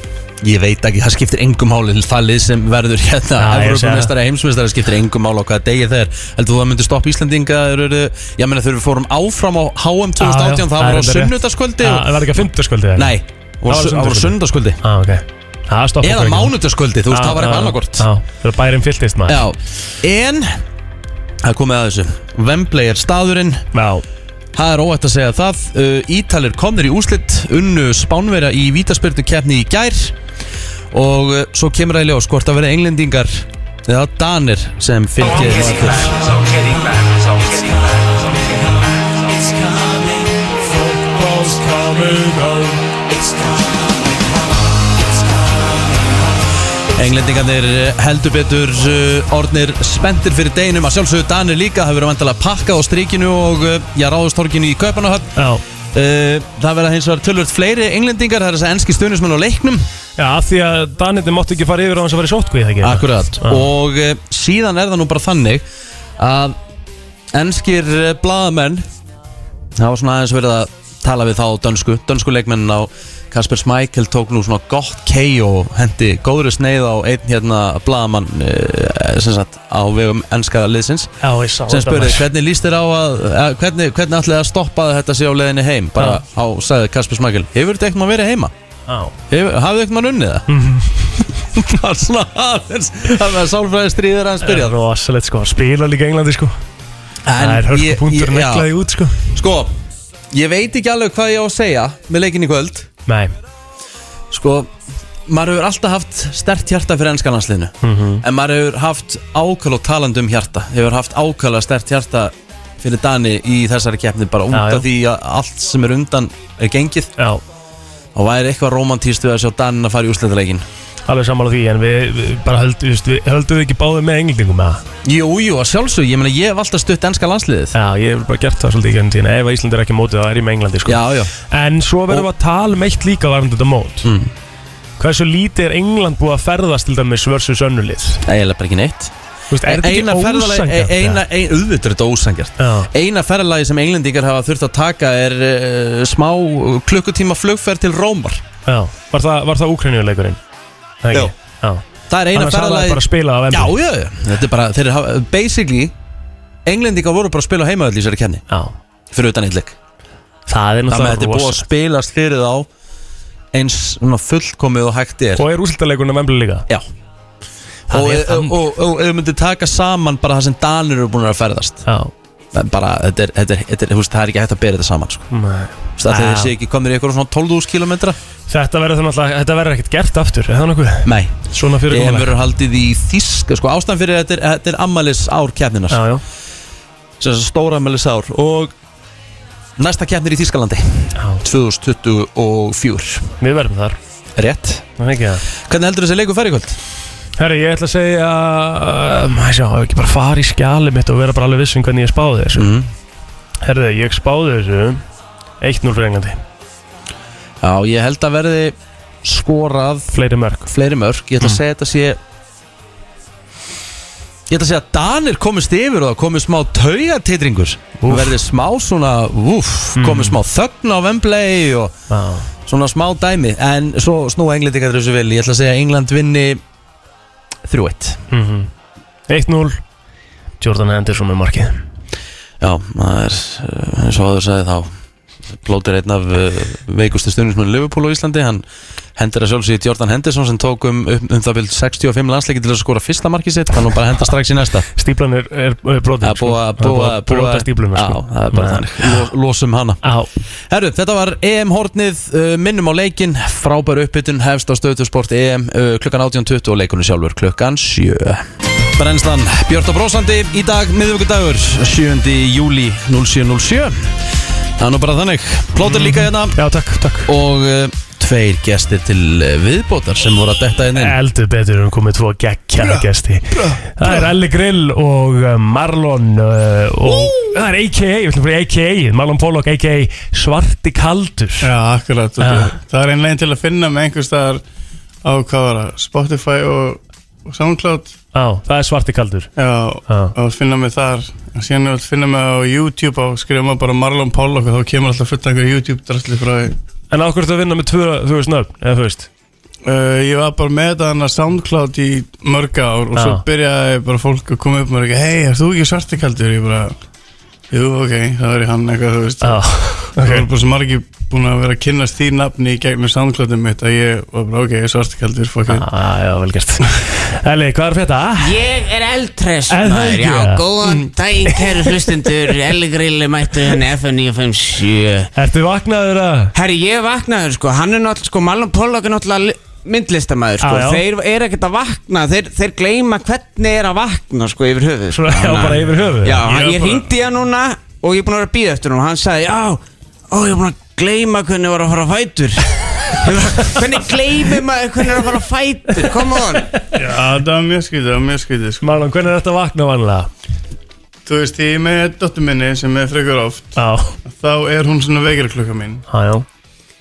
Speaker 1: Ég veit ekki, það skiptir engum máli Það lið sem verður hérna
Speaker 2: Já, ég sé
Speaker 1: Evrópumestari, heimsmestari skiptir engum máli á hvaða degi það er Heldur þú að það myndi stoppa Íslandinga þeir eru- Ég meina þegar við fórum áfram á HM 2018 Það var á sunnudagskvöldi
Speaker 2: Ah, Það var ekki að fymtaskvöldi eða?
Speaker 1: Nei,
Speaker 2: var
Speaker 1: það
Speaker 2: á
Speaker 1: var á sunnudagskvöldi
Speaker 2: sunnudagskvöldi. ah, ok Ah, Það stoppa
Speaker 1: Eða mánudaskvöldi, þú veist, það var eitthvað annarkort
Speaker 2: Það er bærin fylltist maður
Speaker 1: Já, en Það er komið að þessu Wembley er staðurinn,
Speaker 2: Já.
Speaker 1: það er óætt að segja það uh, Ítalir komnir í úslitt Unnu Spánverja í vítaspyrtu keppni í gær Og uh, svo kemur það í ljós Hvort að vera englendingar Eða danir sem fylgir Þetta Englendingarnir eh, heldur betur uh, orðnir spenntir fyrir deginum að sjálfsögðu Danir líka, það hefur verið vantilega pakkað á strikinu og uh, já, ráðustorkinu í Kaupanahöfn uh,
Speaker 2: Já.
Speaker 1: Það verða hins vegar tölvöld fleiri englendingar, það er þess að enski stunismenn á leiknum
Speaker 2: Já, af því að Danirni mátti ekki fara yfir á hans að fara í sótkvíð ekki Ah.
Speaker 1: Akkurat,
Speaker 2: Já.
Speaker 1: og uh, síðan er það nú bara þannig að enskir uh, blaðamenn það var svona aðeins verið að tala við þá dönsku, dönsku leikmennin á Kasper Smækel tók nú svona gott kei og hendi góðri sneið á einn hérna blaðamann uh, sem sagt á vegum enska liðsins
Speaker 2: Já, ég sá
Speaker 1: sem
Speaker 2: þetta,
Speaker 1: spurði
Speaker 2: maður.
Speaker 1: hvernig líst þér á að, að hvernig, hvernig ætlið þið að stoppa að þetta sé á leiðinni heim bara á, sagði Kasper Smækel hefur þetta eitthvað verið heima?
Speaker 2: Já.
Speaker 1: Hefur- Hafið ekkert mann unnið það? það var svona aðeins Það var sálfræði stríður aðeins
Speaker 2: Það
Speaker 1: byrjað
Speaker 2: er rosalegt sko, hann spila líka í Englandi sko Það er hörku punktur
Speaker 1: ég-
Speaker 2: neklaði út sko
Speaker 1: Sko, Ég veit ekki alveg hvað ég á að segja með leikin í kvöld
Speaker 2: Nei,
Speaker 1: Sko, maður hefur alltaf haft stert hjarta fyrir ennska landsliðinu
Speaker 2: Mhm.
Speaker 1: En maður hefur haft ákvæl og talandi um hjarta Hefur haft ákvæl stert hjarta fyrir Dani í þessari keppni Bara út
Speaker 2: Já,
Speaker 1: af
Speaker 2: já.
Speaker 1: því að allt sem er undan er gengið
Speaker 2: já,
Speaker 1: Og væri eitthvað romantíst við að sjá Danin að fara í úrslitaleikin
Speaker 2: alveg sammála því En við, við bara höldum, við, við höldum við ekki báðið með englingum með það
Speaker 1: Jú, jú, að sjálfsög, ég meina ég hef alltaf stutt ennska landsliðið
Speaker 2: Já, ég hef bara gert það svolítið í gennum tíðina Ef að Ísland er ekki á mótið þá er ég með Englandi sko.
Speaker 1: Já, já,
Speaker 2: En svo verðum við að tala um eitt líka varðan þetta mót
Speaker 1: Mm.
Speaker 2: Hversu lítið er England búið að ferðast til dæmis versus önnulið
Speaker 1: eiginlega bara ekki neitt
Speaker 2: Þú veist, Er þetta
Speaker 1: Eina
Speaker 2: ekki
Speaker 1: ferðalagi- e-
Speaker 2: ósangjart?
Speaker 1: Eina, ein, auðvitað er þetta ósangjart
Speaker 2: Já.
Speaker 1: Eina ferðalagi sem englendingar hafa þurft að taka er uh, smá klukkutíma flugferð til Rómar
Speaker 2: Já, var það, var það Úkrænjuleikurinn?
Speaker 1: Já.
Speaker 2: Já.
Speaker 1: Það er eina
Speaker 2: Annars hafa það
Speaker 1: ferðalagi
Speaker 2: bara að spila á
Speaker 1: Já,
Speaker 2: Wembley.
Speaker 1: já, já, þetta er bara, þeir hafa, basically Englendingar voru bara að spila á heimaðall í þessari kenni
Speaker 2: Já.
Speaker 1: Fyrir utan eitt leik
Speaker 2: Það er
Speaker 1: Það með þetta er
Speaker 2: náttúrulega
Speaker 1: búið að
Speaker 2: rosa
Speaker 1: spilast fyrir þá Eins svona fullkomið og hægt er
Speaker 2: Og er úrslitaleikurinn á Vembli líka?
Speaker 1: Já
Speaker 2: Það
Speaker 1: Og
Speaker 2: er
Speaker 1: ef-
Speaker 2: þannig.
Speaker 1: og- og ef við myndum taka saman bara það sem Danir eru búin að ferðast
Speaker 2: Já
Speaker 1: Það er Bara, þetta er, þetta er, þetta er, þú veist, það er ekki hægt að bera þetta saman sko.
Speaker 2: Nei.
Speaker 1: Þú veist, af því að
Speaker 2: Já.
Speaker 1: Þeir séu ekki komnir í eitthvað svona 12.000 kilometra
Speaker 2: Þetta verður þannig að þetta verður ekkert gert aftur Er það nokkuð?
Speaker 1: Nei,
Speaker 2: Svona fyrir
Speaker 1: EM verður haldið í þíska sko, Ástæðan fyrir þetta er, þetta er ammælis ár keppninar
Speaker 2: Já, já
Speaker 1: Stóra ammælis ár Og næsta keppnir í Þískalandi
Speaker 2: Já,
Speaker 1: 2024
Speaker 2: við verðum þar
Speaker 1: Rétt
Speaker 2: Það er ekki það
Speaker 1: Hvernig heldur þessi leikur færi í kvöld?
Speaker 2: Herri, ég ætla að segja um, Sjá, ef ekki bara fara í skjali mitt og vera bara alveg viss um hvernig ég spáði þessu
Speaker 1: Mm.
Speaker 2: Herri, ég spáði þessu 1-0 fyrir Englandi
Speaker 1: Já, ég held að verði skorað
Speaker 2: Fleiri mörg
Speaker 1: fleiri mörg Ég ætla að segja þetta sé Ég ætla að segja að Danir komist yfir og það komið smá taugatitringur
Speaker 2: Úff.
Speaker 1: Verði smá svona, úff, komið smá þögn á Vembley og
Speaker 2: Já
Speaker 1: svona smá dæmi En svo snúa englendingar þessu vel Ég ætla að segja að England vinni 3-1
Speaker 2: Mhm. 1-0 Jordan Henderson með markið
Speaker 1: Já, það er uh, eins og aður sagði þá Blóter einn af uh, veikustu stundismunum Liverpool á Íslandi, hann hendur að sjálfsögja Jordan Henderson sem tók um, um, um það byrjum 65 landsleiki til að skora fyrsta markið sitt hann var bara að henda strax í næsta
Speaker 2: Stíplan er, er, er brotin
Speaker 1: Það er búið að- búið að- búið
Speaker 2: Brota
Speaker 1: að-
Speaker 2: stípluna
Speaker 1: Já,
Speaker 2: sko.
Speaker 1: það er bara þannig, Lo- losum hana
Speaker 2: Já,
Speaker 1: Herru, þetta var EM-hornið, uh, minnum á leikin frábær uppbytun, hefst á stöðtusport EM uh, klukkan 18.20 og leikunni sjálfur klukkan 7 Brennslan, Björn og Brósandi, í dag miðvíkudagur, 7. júli 07.07 Það er nú bara þannig, plótur líka hérna
Speaker 2: já takk, takk
Speaker 1: og uh, tveir gestir til uh, viðbótar sem voru að detta hérna inn
Speaker 2: Eldur betur um komið tvo geggjaða gesti Það er Elli Grill og uh, Marlon uh, og það er AKA, við ætlum fyrir AKA Marlon Pollock AKA Svarti Kaldur
Speaker 10: Já, akkurat
Speaker 2: Já.
Speaker 10: Það er einn leginn til að finna með einhver staðar á hvað var það, Spotify og, og SoundCloud
Speaker 2: Já, það er Svarti Kaldur
Speaker 10: Já,
Speaker 2: Já.
Speaker 10: og finna mig þar en síðan er að finna mig á YouTube og skrifa maður bara Marlon Pollock og þá kemur alltaf fullt einhver YouTube drastli frá því
Speaker 2: En á hverju ertu að vinna með tvö, þú veist nöfn, eða þú veist
Speaker 10: Uh, ég var bara með hana SoundCloud í mörg ár og svo
Speaker 2: Já.
Speaker 10: byrjaði bara fólk að koma upp með ekki, hei, er þú ekki svartikaldur? Ég bara, jú, ok, það er hann eitthvað, þú veist.
Speaker 2: Já,
Speaker 10: Það voru bara svo margir búin að vera að kynnast því nafni í gegnum SoundCloudum mitt að ég var bara, ok, ég er svartikaldur, fuck it.
Speaker 2: ah, já vel gert Elli, hvað er fyrir þetta?
Speaker 4: Ég er eldtress
Speaker 2: Er það
Speaker 4: maður,
Speaker 2: ekki?
Speaker 4: já, góðan daginn kæru hlustendur, Elgrill er mættu henni FM 957
Speaker 2: Ertu vaknaður eh? að?
Speaker 4: Herri, ég er vaknaður sko, hann er náttúrulega, sko, Marlon Pollock er náttúrulega li- myndlistamaður sko,
Speaker 2: Já, já.
Speaker 4: þeir eru ekkert að vakna, þeir, þeir gleyma hvernig er að vakna sko yfir höfuð
Speaker 2: Svona, já, bara yfir höfuð
Speaker 4: Já,
Speaker 10: Ég er
Speaker 4: hann, ég
Speaker 10: bara-
Speaker 4: hringdi í hann núna og ég er búin að vera að býða eftir hún og hann sagði, já, ó, ég er búin að gleyma hvernig var að fara á fætur Ég bara, Hvernig gleymi maður hvernig er að fara á fætur, come on
Speaker 10: Já, það var mjög skrítið, það var mjög skrítið, sko.
Speaker 2: Marlon, hvernig er þetta að vakna vanlega?
Speaker 10: Þú veist, ég er með dottur minni sem er frekar oft,
Speaker 2: Já,
Speaker 10: þá er hún svona vekjarklukka mín.
Speaker 2: já, já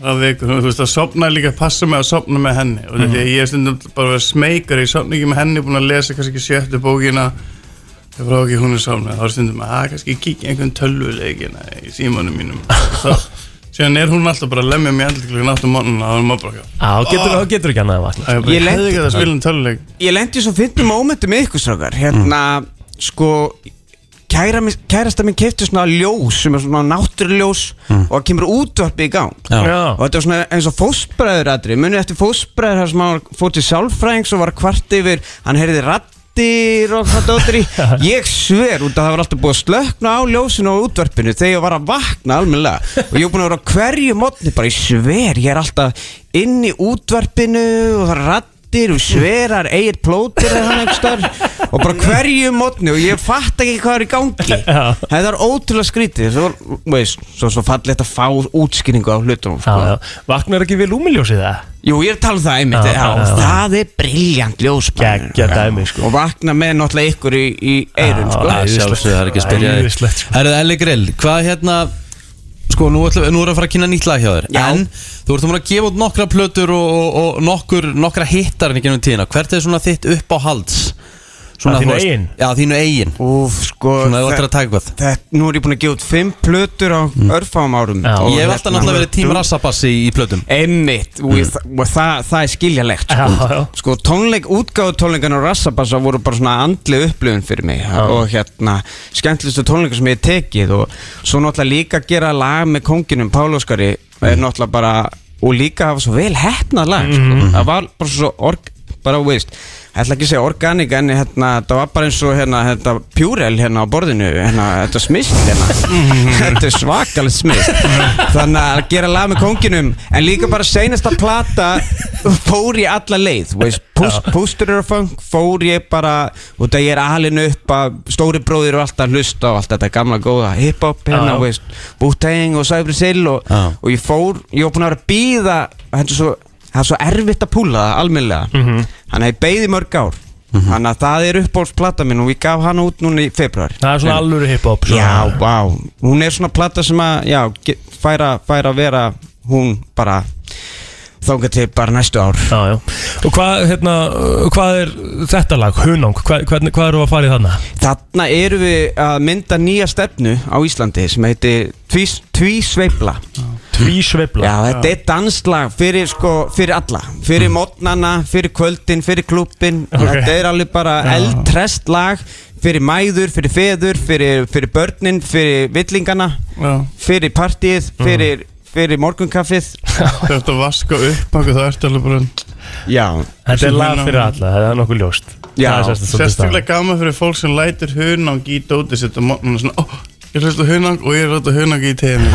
Speaker 10: Það vekur, hún, þú veist, það sopnaði líka að passa mig að sopna með henni og þetta ég er stundum bara að vera smeykar, ég sopna ekki með henni, búin að lesa kannski sjöttu bókina ég frá ekki hún er sopnað, þá er stundum að að kannski kíkja einhvern tölvuleikina í símanum mínum þá, síðan er hún alltaf bara að lemja mig alltaf klukkan átt á mánuna og þá er maður bara ekki
Speaker 2: Já, getur, þá getur ekki annað að vakna
Speaker 10: að
Speaker 4: Ég
Speaker 10: ég
Speaker 4: lenti-
Speaker 10: hefði ekki að spila um tölvuleik
Speaker 4: ég lendi í svo fyndum mómentum með ykkur strákar hérna, sko kæra, mis- kærasta minn kefti svona ljós sem er svona náttúruljós og það kemur útvarpi í gang
Speaker 2: Já,
Speaker 4: og þetta var svona eins og fósbræður atri munið eftir fósbræður þar sem hann var- fór til sálfræðings og var kvart yfir hann heyrði radd
Speaker 11: kettir og hvað dóttir í Ég sver út að það var alltaf búið að slökna á ljósinu og útvarpinu þegar ég var að vakna almennilega og ég var búin að vera á hverju mótni bara ég sver, ég er alltaf inn í útvarpinu og það rattir og sverar, eigir plótir eða hann einhvers staðar og bara hverju mótni og ég fatt ekki hvað er í gangi Það er ótrúlega skrítið svo, veist, svo, svo fallið þetta fá útskýringu á hlutum sko.
Speaker 2: Já, já. Vaknar ekki vel úmiljósið það?
Speaker 11: Jú, ég er að tala um það einmitt
Speaker 2: Já,
Speaker 11: já,
Speaker 2: já, já.
Speaker 11: Það er briljant ljósbæður
Speaker 2: Geggja dæmi, sko.
Speaker 11: Og vakna með náttúrulega ykkur í, í eirun sko.
Speaker 1: Sjálfsögðu, það er ekki að spyrja þig
Speaker 2: Æðislegt, sko.
Speaker 1: Herðu, Elli Grill, hvað hérna Sko, nú, ætlum, nú erum við að fara að kynna nýtt lag hjá þér
Speaker 11: Já.
Speaker 1: En þú ert að að gefa út nokkra plötur og, og, og nokkur, nokkra hittar en ekki um tíðina Hvert er svona þitt upp á halds?
Speaker 2: Að
Speaker 1: þú
Speaker 2: þínu
Speaker 1: veist-
Speaker 2: eigin?
Speaker 1: Já, þínu eigin
Speaker 11: Úf, sko
Speaker 1: Svona, ef þú
Speaker 11: þe-
Speaker 1: ættir að taka eitthvað
Speaker 11: þe- Nú er ég búin að gefa út fimm plötur á örfáum árum
Speaker 2: Já.
Speaker 11: Og
Speaker 1: Ég hef
Speaker 11: hérna-
Speaker 1: alltaf náttúrulega verið tím rassabassi í, í plötum
Speaker 11: Einmitt, og, ég, og það, það er skiljalegt sko,
Speaker 2: Mm. Já, já.
Speaker 11: sko tónleik, útgáðu tónleikan og rassabassa voru bara svona andli upplifun fyrir mig og hérna, skemmtlistu tónleikar sem ég hef tekið og svo náttúrulega líka að gera lag með konginum Páloskari
Speaker 2: Mm.
Speaker 11: er náttúrulega bara, og líka hafa svo vel hefnað lag,
Speaker 2: Mm.
Speaker 11: sko, það var bara svo org, bara þú veist ég ætla ekki að segja organik en hérna, það var bara eins og hérna, hérna, pjúrel hérna á borðinu hérna, þetta smist hérna þetta er svakalegt smist þannig að gera lag með konginum en líka bara seinasta plata fór ég alla leið þú veist, púst, pústur eru fang fór ég bara út að ég er alin upp að stóri bróðir og allt að hlusta og allt þetta gamla góða hiphop
Speaker 2: Já.
Speaker 11: hérna, þú veist, Wu-Tang og Cypress Hill og,
Speaker 1: Já.
Speaker 11: og ég fór, ég var búin að vera að býða þetta er svo, það er svo erfitt að púla það almennilega,
Speaker 2: Mhm.
Speaker 11: þannig að ég beið í mörg ár þannig að það er uppbólsplata minn og ég gaf hana út núna í februar
Speaker 2: Það er svona alvöru hiphop svona.
Speaker 11: já, vá, hún er svona plata sem að, já, ge- fær að- fær að vera hún bara þangað til bara næstu ár
Speaker 2: Já, já. Og hvað, hérna, uh, hvað er þetta lag, Hunang, hvað, hvernig, hvað eru að fara í þarna?
Speaker 11: Þarna erum við að mynda nýja stefnu á Íslandi sem heitir Tvís- Tvísveifla
Speaker 2: Tvísveifla
Speaker 11: Já, þetta er danslag fyrir, sko, fyrir alla Fyrir mótnana, fyrir kvöldin, fyrir klúppin
Speaker 2: Mm. Ok.
Speaker 11: Þetta er alveg bara eldtrest lag Fyrir mæður, fyrir feður, fyrir, fyrir börnin, fyrir villingana
Speaker 10: Já.
Speaker 11: Fyrir partíið,
Speaker 2: Mm.
Speaker 11: fyrir, fyrir morgunkaffið
Speaker 10: Þegar þetta vaska upp okkur það ertu alveg bara
Speaker 11: Já,
Speaker 2: Þetta er lag
Speaker 10: Hunang.
Speaker 2: fyrir alla, það er nokkuð ljóst
Speaker 11: Já.
Speaker 2: Það er sérstakt svolítið
Speaker 10: Sérstaklega gaman fyrir fólk sem lætur hunang í dótið sitt og mótnum svona Ó, ég hlusta á hunang og ég hlusta á hunang í teginu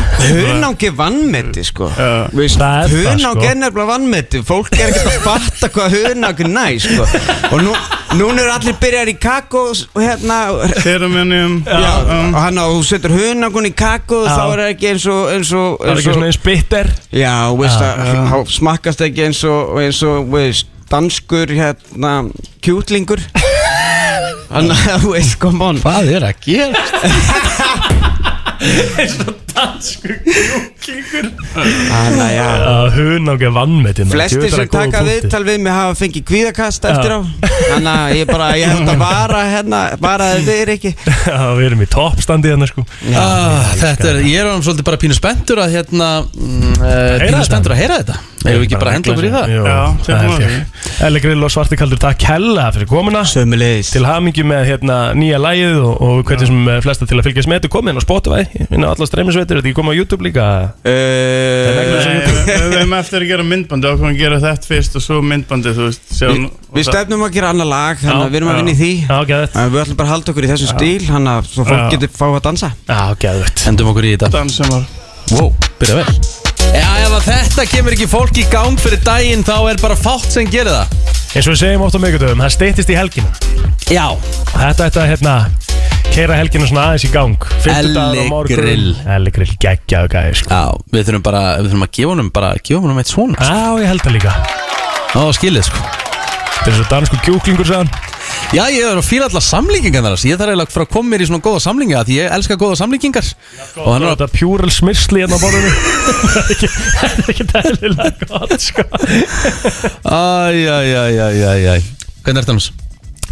Speaker 11: Hunangi vannmeti sko
Speaker 10: Já.
Speaker 11: Veist,
Speaker 2: Það er það,
Speaker 11: Hunang
Speaker 2: sko.
Speaker 11: er nefnilega vannmeti Fólk er ekkert að fatta hvað hunang er næ sko. Og nú, núna eru allir byrjar í kakó og hérna,
Speaker 10: Teramenjum
Speaker 11: Já, og hann á, þú setur hunangun í kakku og
Speaker 2: Já.
Speaker 11: þá er það ekki eins og, eins og,
Speaker 2: Það er
Speaker 11: eins
Speaker 2: ekki
Speaker 11: og
Speaker 2: svona eins bitter
Speaker 11: Já, þú veist að þá smakkast ekki eins og, eins og, þú veist, danskur, hérna, kjútlingur Þannig að, þú veist, come on
Speaker 1: Hvað er að gera?
Speaker 11: Þannig að, já
Speaker 2: Uh, Hunang er vannmetinn
Speaker 11: Flesti sem taka viðtal við mig hafa fengið kvíðakast eftir á Þannig að ég bara, ég held að vara hérna, vara þið er ekki
Speaker 2: Já, við erum í toppstandi hérna sko
Speaker 1: Ah, þetta er, ég er um svolítið bara pínu spenntur að hérna mm, eh, Pínu
Speaker 2: þetta.
Speaker 1: spenntur að heyra þetta Eða við ekki bara að henda okkur í það
Speaker 2: Jú,
Speaker 10: Já,
Speaker 2: það
Speaker 10: tekum
Speaker 2: held
Speaker 10: við.
Speaker 2: ég Elli Grill og Svarti Kaldur, takk hella fyrir komuna
Speaker 11: Sömulegis
Speaker 2: Til hamingju með hérna, nýja lægið og, og hvernig sem eh, flesta til að fylgjast með Þetta komið hérna á Spotify, inn á alla streymisveitur Þetta er komið á YouTube líka
Speaker 11: uh,
Speaker 10: Nei, við- Við höfum eftir að gera myndbandi ákveðum að gera þetta fyrst og svo myndbandi þú veist sjá,
Speaker 11: Við, við stefnum að gera annað lag, þannig að við erum að vinna í því
Speaker 2: Já, geðvett
Speaker 11: En við ætlum bara að halda okkur í þessum stíl Þannig að svo fólk
Speaker 2: Já.
Speaker 11: getur fá að dansa
Speaker 2: Já, geðvett
Speaker 1: Hendum okkur í þetta
Speaker 10: dansum var
Speaker 1: Wow, byrja vel Já, ef að þetta kemur ekki fólk í gang fyrir daginn þá er bara fátt sem gerir það
Speaker 2: Eins og við segjum oft á megadöfum, það steytist í helgina
Speaker 1: Já,
Speaker 2: Þetta ætti að hérna Keira helgina svona aðeins í gang Fimmtudagur á
Speaker 1: Elli
Speaker 2: morgun.
Speaker 1: Grill.
Speaker 2: Elli grill, geggjaðu gæði sko
Speaker 1: já, við þurfum bara, við þurfum að gefa honum bara, gefa honum eitt svona
Speaker 2: Já, ég held það líka
Speaker 1: Já, skilið sko
Speaker 2: Þetta er svo dansku kjúklingur sagðan
Speaker 1: Já, ég er að fýla allar samlíkingar þar Ég þarf eiginlega að fara að koma mér í svona góða samlíkingar Því ég elska góða samlíkingar Og hann er að
Speaker 2: Þetta pjúral smirsli hérna á borðinu Það er ekki- það er ekki dælilega gott sko
Speaker 1: Æj, æj, æj, æj, æj, æj Hvernig ert annars?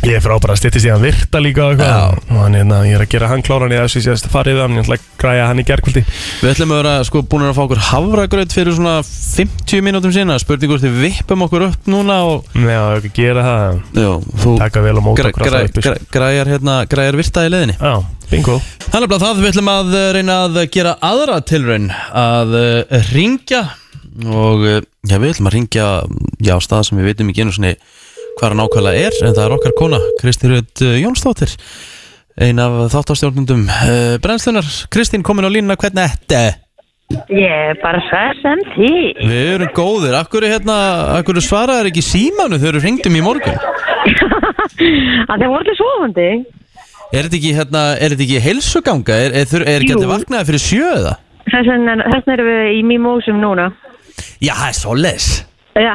Speaker 2: Ég er frábæra að styttist í hann virta líka og eitthvað. Og hann, hérna, ég er að gera hann kláran í þessu síðast farið við hann, ég ætla að græja hann í gerkvöldi
Speaker 1: Við ætlum að vera sko búin að fá okkur hafragraut fyrir svona 50 mínútum sína Spurning hvort við vippum okkur upp núna og
Speaker 2: Já, ég er ekki að gera það,
Speaker 1: Já, þú
Speaker 2: taka vel á mót
Speaker 1: græ,
Speaker 2: okkur að
Speaker 1: græ,
Speaker 2: það upp,
Speaker 1: græ,
Speaker 2: veist.
Speaker 1: græjar hérna, græjar virta í leiðinni
Speaker 2: Já, bingo
Speaker 1: Það er nefnilega það, við ætlum að eh, reyna að gera aðra tilraun að uh, eh, ringja og uh, já, við ætlum að ringja já, á stað sem við veitum ekki einu svona hvað hann ákvæðlega er en það er okkar kona, Kristín Rödd Jónsdóttir ein af þáttastjórnundum uh, brennslunar Kristín komin á línuna, hvernig þetta?
Speaker 12: Ég er bara svar sem því.
Speaker 1: Við erum góðir, akkur, hérna, akkur svaraðar ekki í símanu þegar við ringdum í morgun
Speaker 12: Að þeim voru allir sofandi.
Speaker 1: Er þetta ekki, hérna, er þetta ekki heilsuganga? Er, er, er, er ekki
Speaker 12: Jú.
Speaker 1: allir vaknaði fyrir sjö eða?
Speaker 12: Þess vegna þess vegna erum við í mimósum núna.
Speaker 1: Já, það er svoleiðis
Speaker 12: Já,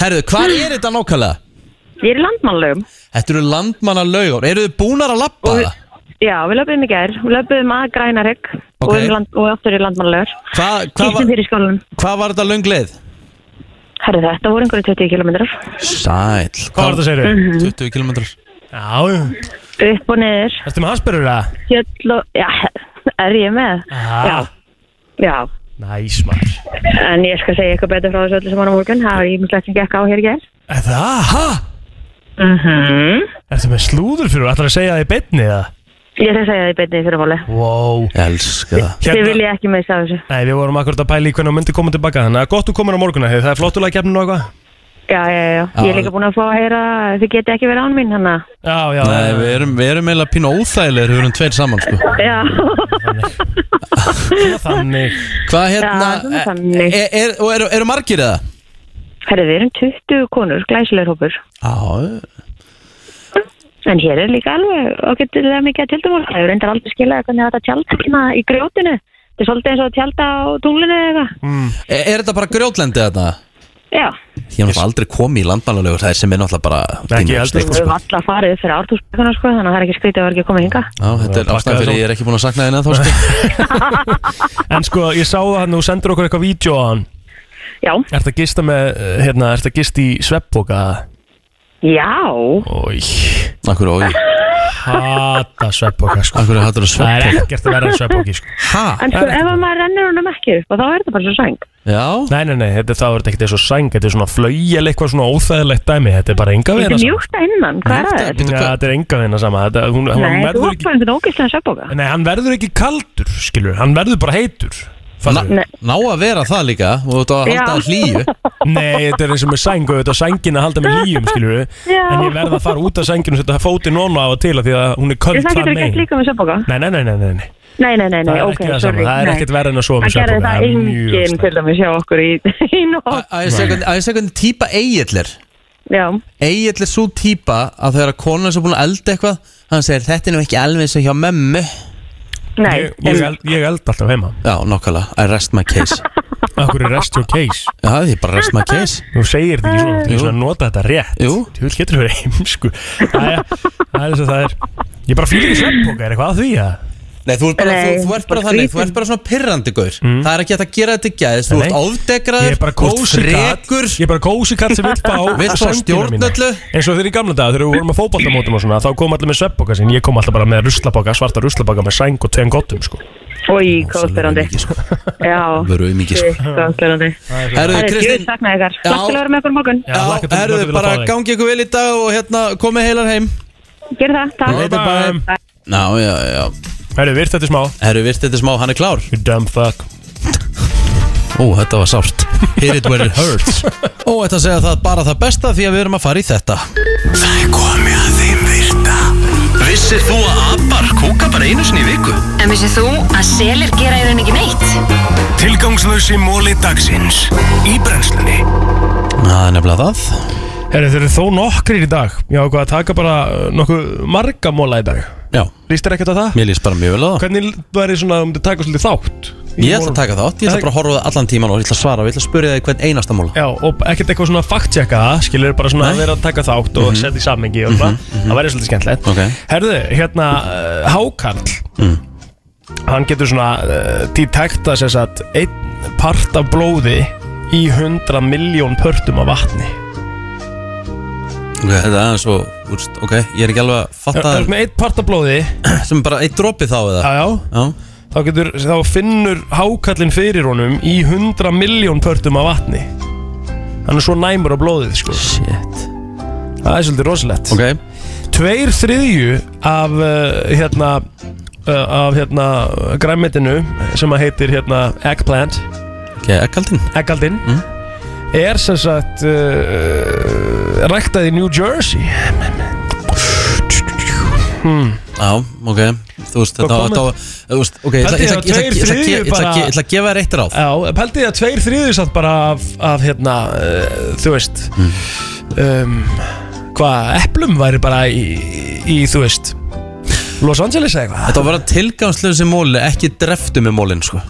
Speaker 1: Herðu, hvað er þetta nákvæmlega?
Speaker 12: ég er í landmannlögum.
Speaker 1: Þetta eru landmanna laugur Eru þið búnar að lappa það?
Speaker 12: Já, við löpum í gær. Við löpum að Grænarhegg og, um land, og aftur í landmannlögur.
Speaker 1: Hvað hva
Speaker 12: Kýttum fyrir skólanum.
Speaker 1: hva var þetta löng leið?
Speaker 12: Herru, þetta voru einhverju 20 kilometrar.
Speaker 1: Sæl
Speaker 2: Hvað var þetta segir
Speaker 12: Mhm.
Speaker 1: 20 km
Speaker 2: Já,
Speaker 12: Upp og niður.
Speaker 2: ertu með Asperger það?
Speaker 12: Fjöll og... Já, er ég með? Já. Já.
Speaker 2: Næs maður
Speaker 12: En ég skal segja eitthvað betur frá þessu öllu saman á morgun. Það er ímislegt sem gekk á hér í gær.
Speaker 2: Er það? Hæ?
Speaker 12: Mhm.
Speaker 2: Ertu með slúður fyrir og ætlar að segja það í betni eða?
Speaker 12: Ég ætla að segja það í beinni í fyrramáli.
Speaker 2: Wow Hérna-
Speaker 1: Elska það
Speaker 12: Þið vilja ekki með þessu.
Speaker 2: Nei, við vorum akkurat að pæla í hvernig hún myndi koma tilbaka Þannig að gott þú komur á morgunna, hefur það er flottulega keppnin og eitthvað?
Speaker 12: Já, já, já. Ég er líka búin að fá að heyra að þið geti ekki verið án mín hann að...
Speaker 2: Já, já
Speaker 1: Nei, við erum, við erum eiginlega pínu óþægilegir Við erum tveir saman sko
Speaker 12: Já.
Speaker 2: Þannig
Speaker 1: Hvað
Speaker 12: Já, það
Speaker 1: hérna
Speaker 12: er þannig.
Speaker 1: er, er, Og eru, eru margir eða?
Speaker 12: Herri, við erum 20 konur, glæsilegur hópur.
Speaker 1: Já
Speaker 12: En hér er líka alveg ágættilega mikið að tjaldum Það er reyndar aldrei skilaði hvernig þetta tjald hérna í grjótinu. Þetta er svolítið eins og að tjalda á tunglinu eða eitthvað.
Speaker 2: Mm.
Speaker 1: E- er, er þetta bara grjótlendi þetta? Ég
Speaker 12: Já.
Speaker 1: hef náttúrulega aldrei komið í landmannalögur Það er sem er náttúrulega bara sko. Ekki
Speaker 12: Við höfum alltaf farið fyrir ártúsbækuna sko, þannig að það er ekki skrítið að vera ekki komið hinga.
Speaker 1: Já, þetta er
Speaker 2: Bakkaði
Speaker 1: ástæðan fyrir
Speaker 2: svo.
Speaker 1: ég er ekki búin að sakna þín að þá sko
Speaker 2: En sko, ég sá það hann og sendur okkur eitthvað vídeo á hann
Speaker 12: Já
Speaker 2: Ertu að gista með, eh, hérna, ertu að gista í sveppboka?
Speaker 12: Já.
Speaker 2: Ói
Speaker 1: Akkur ói
Speaker 2: Hata sveppboka sko
Speaker 1: Akkur hattur að
Speaker 2: Það er
Speaker 1: sveppa
Speaker 2: ekkert að vera sveppboki sko
Speaker 1: Ha?
Speaker 12: En svo ef að maður rennir honum ekki upp og þá er þetta bara svo sæng.
Speaker 1: Já
Speaker 2: Nei, nei, nei, þetta þá er þetta ekkert eins og sæng Þetta er svona flaugjel eitthvað svona óþægilegt dæmi Þetta er bara enga
Speaker 12: Þetta
Speaker 2: vina
Speaker 12: er
Speaker 2: sama
Speaker 12: mjúkt að innan, hvað er að
Speaker 2: Já, Þetta er enga vina sama þetta, hún, hún,
Speaker 12: Nei, þú
Speaker 2: verður
Speaker 12: er
Speaker 2: ekki,
Speaker 12: bara einhvern ógæslega söpboka.
Speaker 2: Nei, hann verður ekki kaldur, skilur Hann verður bara heitur
Speaker 1: Na, Ná að vera það líka Og þú ert að halda
Speaker 12: Já.
Speaker 1: að hlýju
Speaker 2: Nei, þetta er eins og með sæng og þetta sængin að halda með hlýjum, skilur
Speaker 12: Já.
Speaker 2: En ég verð að fara út af sængin og setja fótinn ofan á og til af Því að hún er köld
Speaker 12: Það
Speaker 2: þar
Speaker 12: getur þú gert
Speaker 2: megin
Speaker 12: líka með söpboka.
Speaker 2: Nei, nei, nei, nei, nei, nei.
Speaker 12: Nei, nei, nei,
Speaker 2: Það
Speaker 12: nei,
Speaker 2: er
Speaker 12: ok,
Speaker 2: ekki það
Speaker 12: sorry
Speaker 2: sama, það er
Speaker 12: nei.
Speaker 2: ekkert verra en að sofa með
Speaker 12: Það
Speaker 2: svefnpoka,
Speaker 12: gerði það
Speaker 2: það er mjög
Speaker 12: enginn
Speaker 2: slæmt.
Speaker 12: til dæmis hjá okkur í, í nótt
Speaker 1: Að ég sé hvernig- að ég sé hvernig típa eigill er
Speaker 12: Já,
Speaker 1: Egil er svo típa að þegar að konan er svo búin að elda eitthvað hann segir þetta er nú ekki alveg eins og hjá mömmu
Speaker 12: nei
Speaker 2: Ég, ég, eld, ég eld alltaf heima
Speaker 1: Já, nokkala, I rest my case
Speaker 2: Akkur er rest your case
Speaker 1: Já, því bara rest my case
Speaker 2: Þú segir þetta ekki svona, þú
Speaker 1: Jú.
Speaker 2: svona nota þetta rétt
Speaker 1: Jú.
Speaker 2: Þú vil getur verið heimsku Æja, það er þess að það er Ég bara fýlir ekki sveppbóka, er eitthvað að því að
Speaker 1: Nei, þú ert bara,
Speaker 12: Nei,
Speaker 1: þú, þú ert bara
Speaker 12: bara
Speaker 1: þannig, þú
Speaker 12: skrýtin.
Speaker 1: ert bara svona pirrandi gaur Það er ekki hægt að gera þetta gæðis, þú
Speaker 2: Mm. Nei.
Speaker 1: ert
Speaker 2: Ég er
Speaker 1: ofdegraður
Speaker 2: bara kósi katt
Speaker 1: frekur
Speaker 2: Ég er bara kósi katt sem vill fá
Speaker 1: Vill fá
Speaker 2: sængina
Speaker 1: stjórn
Speaker 2: mína.
Speaker 1: öllu.
Speaker 2: Eins og þegar í gamla dag þegar við vorum að fótballtamótum og svona Þá kom allir með sveppbóka sín Ég kom alltaf bara með ruslabóka, svarta ruslabóka Með sæng og tveim gottum sko
Speaker 12: Í kóðsperandi Já,
Speaker 1: Veru aumingi sko
Speaker 12: kóðsperandi
Speaker 1: Herðu,
Speaker 12: Það er
Speaker 1: Kristín
Speaker 12: gjöð saknaði ykkar
Speaker 1: Já.
Speaker 12: Takk til að vera með okkur morgun
Speaker 2: Já, hlakka til
Speaker 1: Já, herðu,
Speaker 2: að fá
Speaker 1: bara
Speaker 2: þig.
Speaker 1: gangi ykkur vel í dag og hérna komið heilar heim
Speaker 12: Gerðu það, takk
Speaker 1: Later, bye. Já, já, já
Speaker 2: Herru, virt þetta í smá
Speaker 1: Herðu, virt þetta smá, hann er klár
Speaker 2: You dumb fuck
Speaker 1: Ó, þetta var sárt Hit it where it hurts Ó, þetta segja það bara það besta því að við erum að fara í þetta
Speaker 3: Það er komið að þeim virta Vissir þú að abar kúka bara einu sinni í viku?
Speaker 8: En vissið þú að selir gera í rauninni ekki neitt?
Speaker 3: Tilgangslösi móli dagsins Í brennslunni
Speaker 1: Það er nefnilega það
Speaker 2: Herru, þeir eru þó nokkrir í dag Ég ákvað að taka bara uh, nokkuð marga móla í dag
Speaker 1: Já,
Speaker 2: Lýst þér ekkert að það?
Speaker 1: mér líst bara mjög vel á það
Speaker 2: Hvernig væri svona um, að þú myndir taka svolítið þátt? í
Speaker 1: Ég ætla
Speaker 2: mólum?
Speaker 1: að taka þátt, ég ætla bara að horfa á það allan tíman og ég ætla að svara og ég ætla að spyrja þig hvern einasta múla
Speaker 2: Já, og ekkert eitthvað svona fact-checka það, skilur bara svona að vera að taka þátt og setja í samhengi og svona, það væri svolítið skemmtilegt.
Speaker 1: Mhm. Ok. Mm.
Speaker 2: Herðu, hérna, uh, Hákarl, hann getur svona uh, detekta sér satt einn part af blóði í 100 miljón pörtum af vatni.
Speaker 1: Ok, þetta er aðeins og, úrst, ok, ég er ekki alveg að
Speaker 2: Það
Speaker 1: fatta
Speaker 2: er með einn part af blóði,
Speaker 1: sem er bara eitt dropi þá eða
Speaker 2: já, já,
Speaker 1: Já,
Speaker 2: þá, getur, þá finnur hákallin fyrir honum í 100 miljón pörtum af vatni. Hann er svo næmur á blóðið, sko.
Speaker 1: shit
Speaker 2: Það er svolítið rosalegt.
Speaker 1: Ok,
Speaker 2: Tveir þriðju af uh, hérna uh, af hérna græmitinu sem að heitir hérna eggplant,
Speaker 1: ok, ekkaldinn
Speaker 2: eggaldin er sem sagt uh, ræktað í New Jersey hmm.
Speaker 1: Já, ok Þú veist,
Speaker 2: Hvað
Speaker 1: þetta
Speaker 2: kom
Speaker 1: þetta var
Speaker 2: með-
Speaker 1: Þú veist, ok, ég ætla-
Speaker 2: Haldið
Speaker 1: ég ætla-
Speaker 2: að
Speaker 1: ég ætla- ég ætla-
Speaker 2: tveir
Speaker 1: ég ætla-
Speaker 2: þriðju
Speaker 1: ég ætla- ég ætla að gefa þér eitt ráð
Speaker 2: Já, pældi ég að tveir þriðju samt bara af, af hérna, uh, þú veist um, hvað, eplum væri bara í, í þú veist Los Angeles eða eitthvað
Speaker 1: Þetta var bara tilgangslösi móli, ekki dreftu með mólin sko.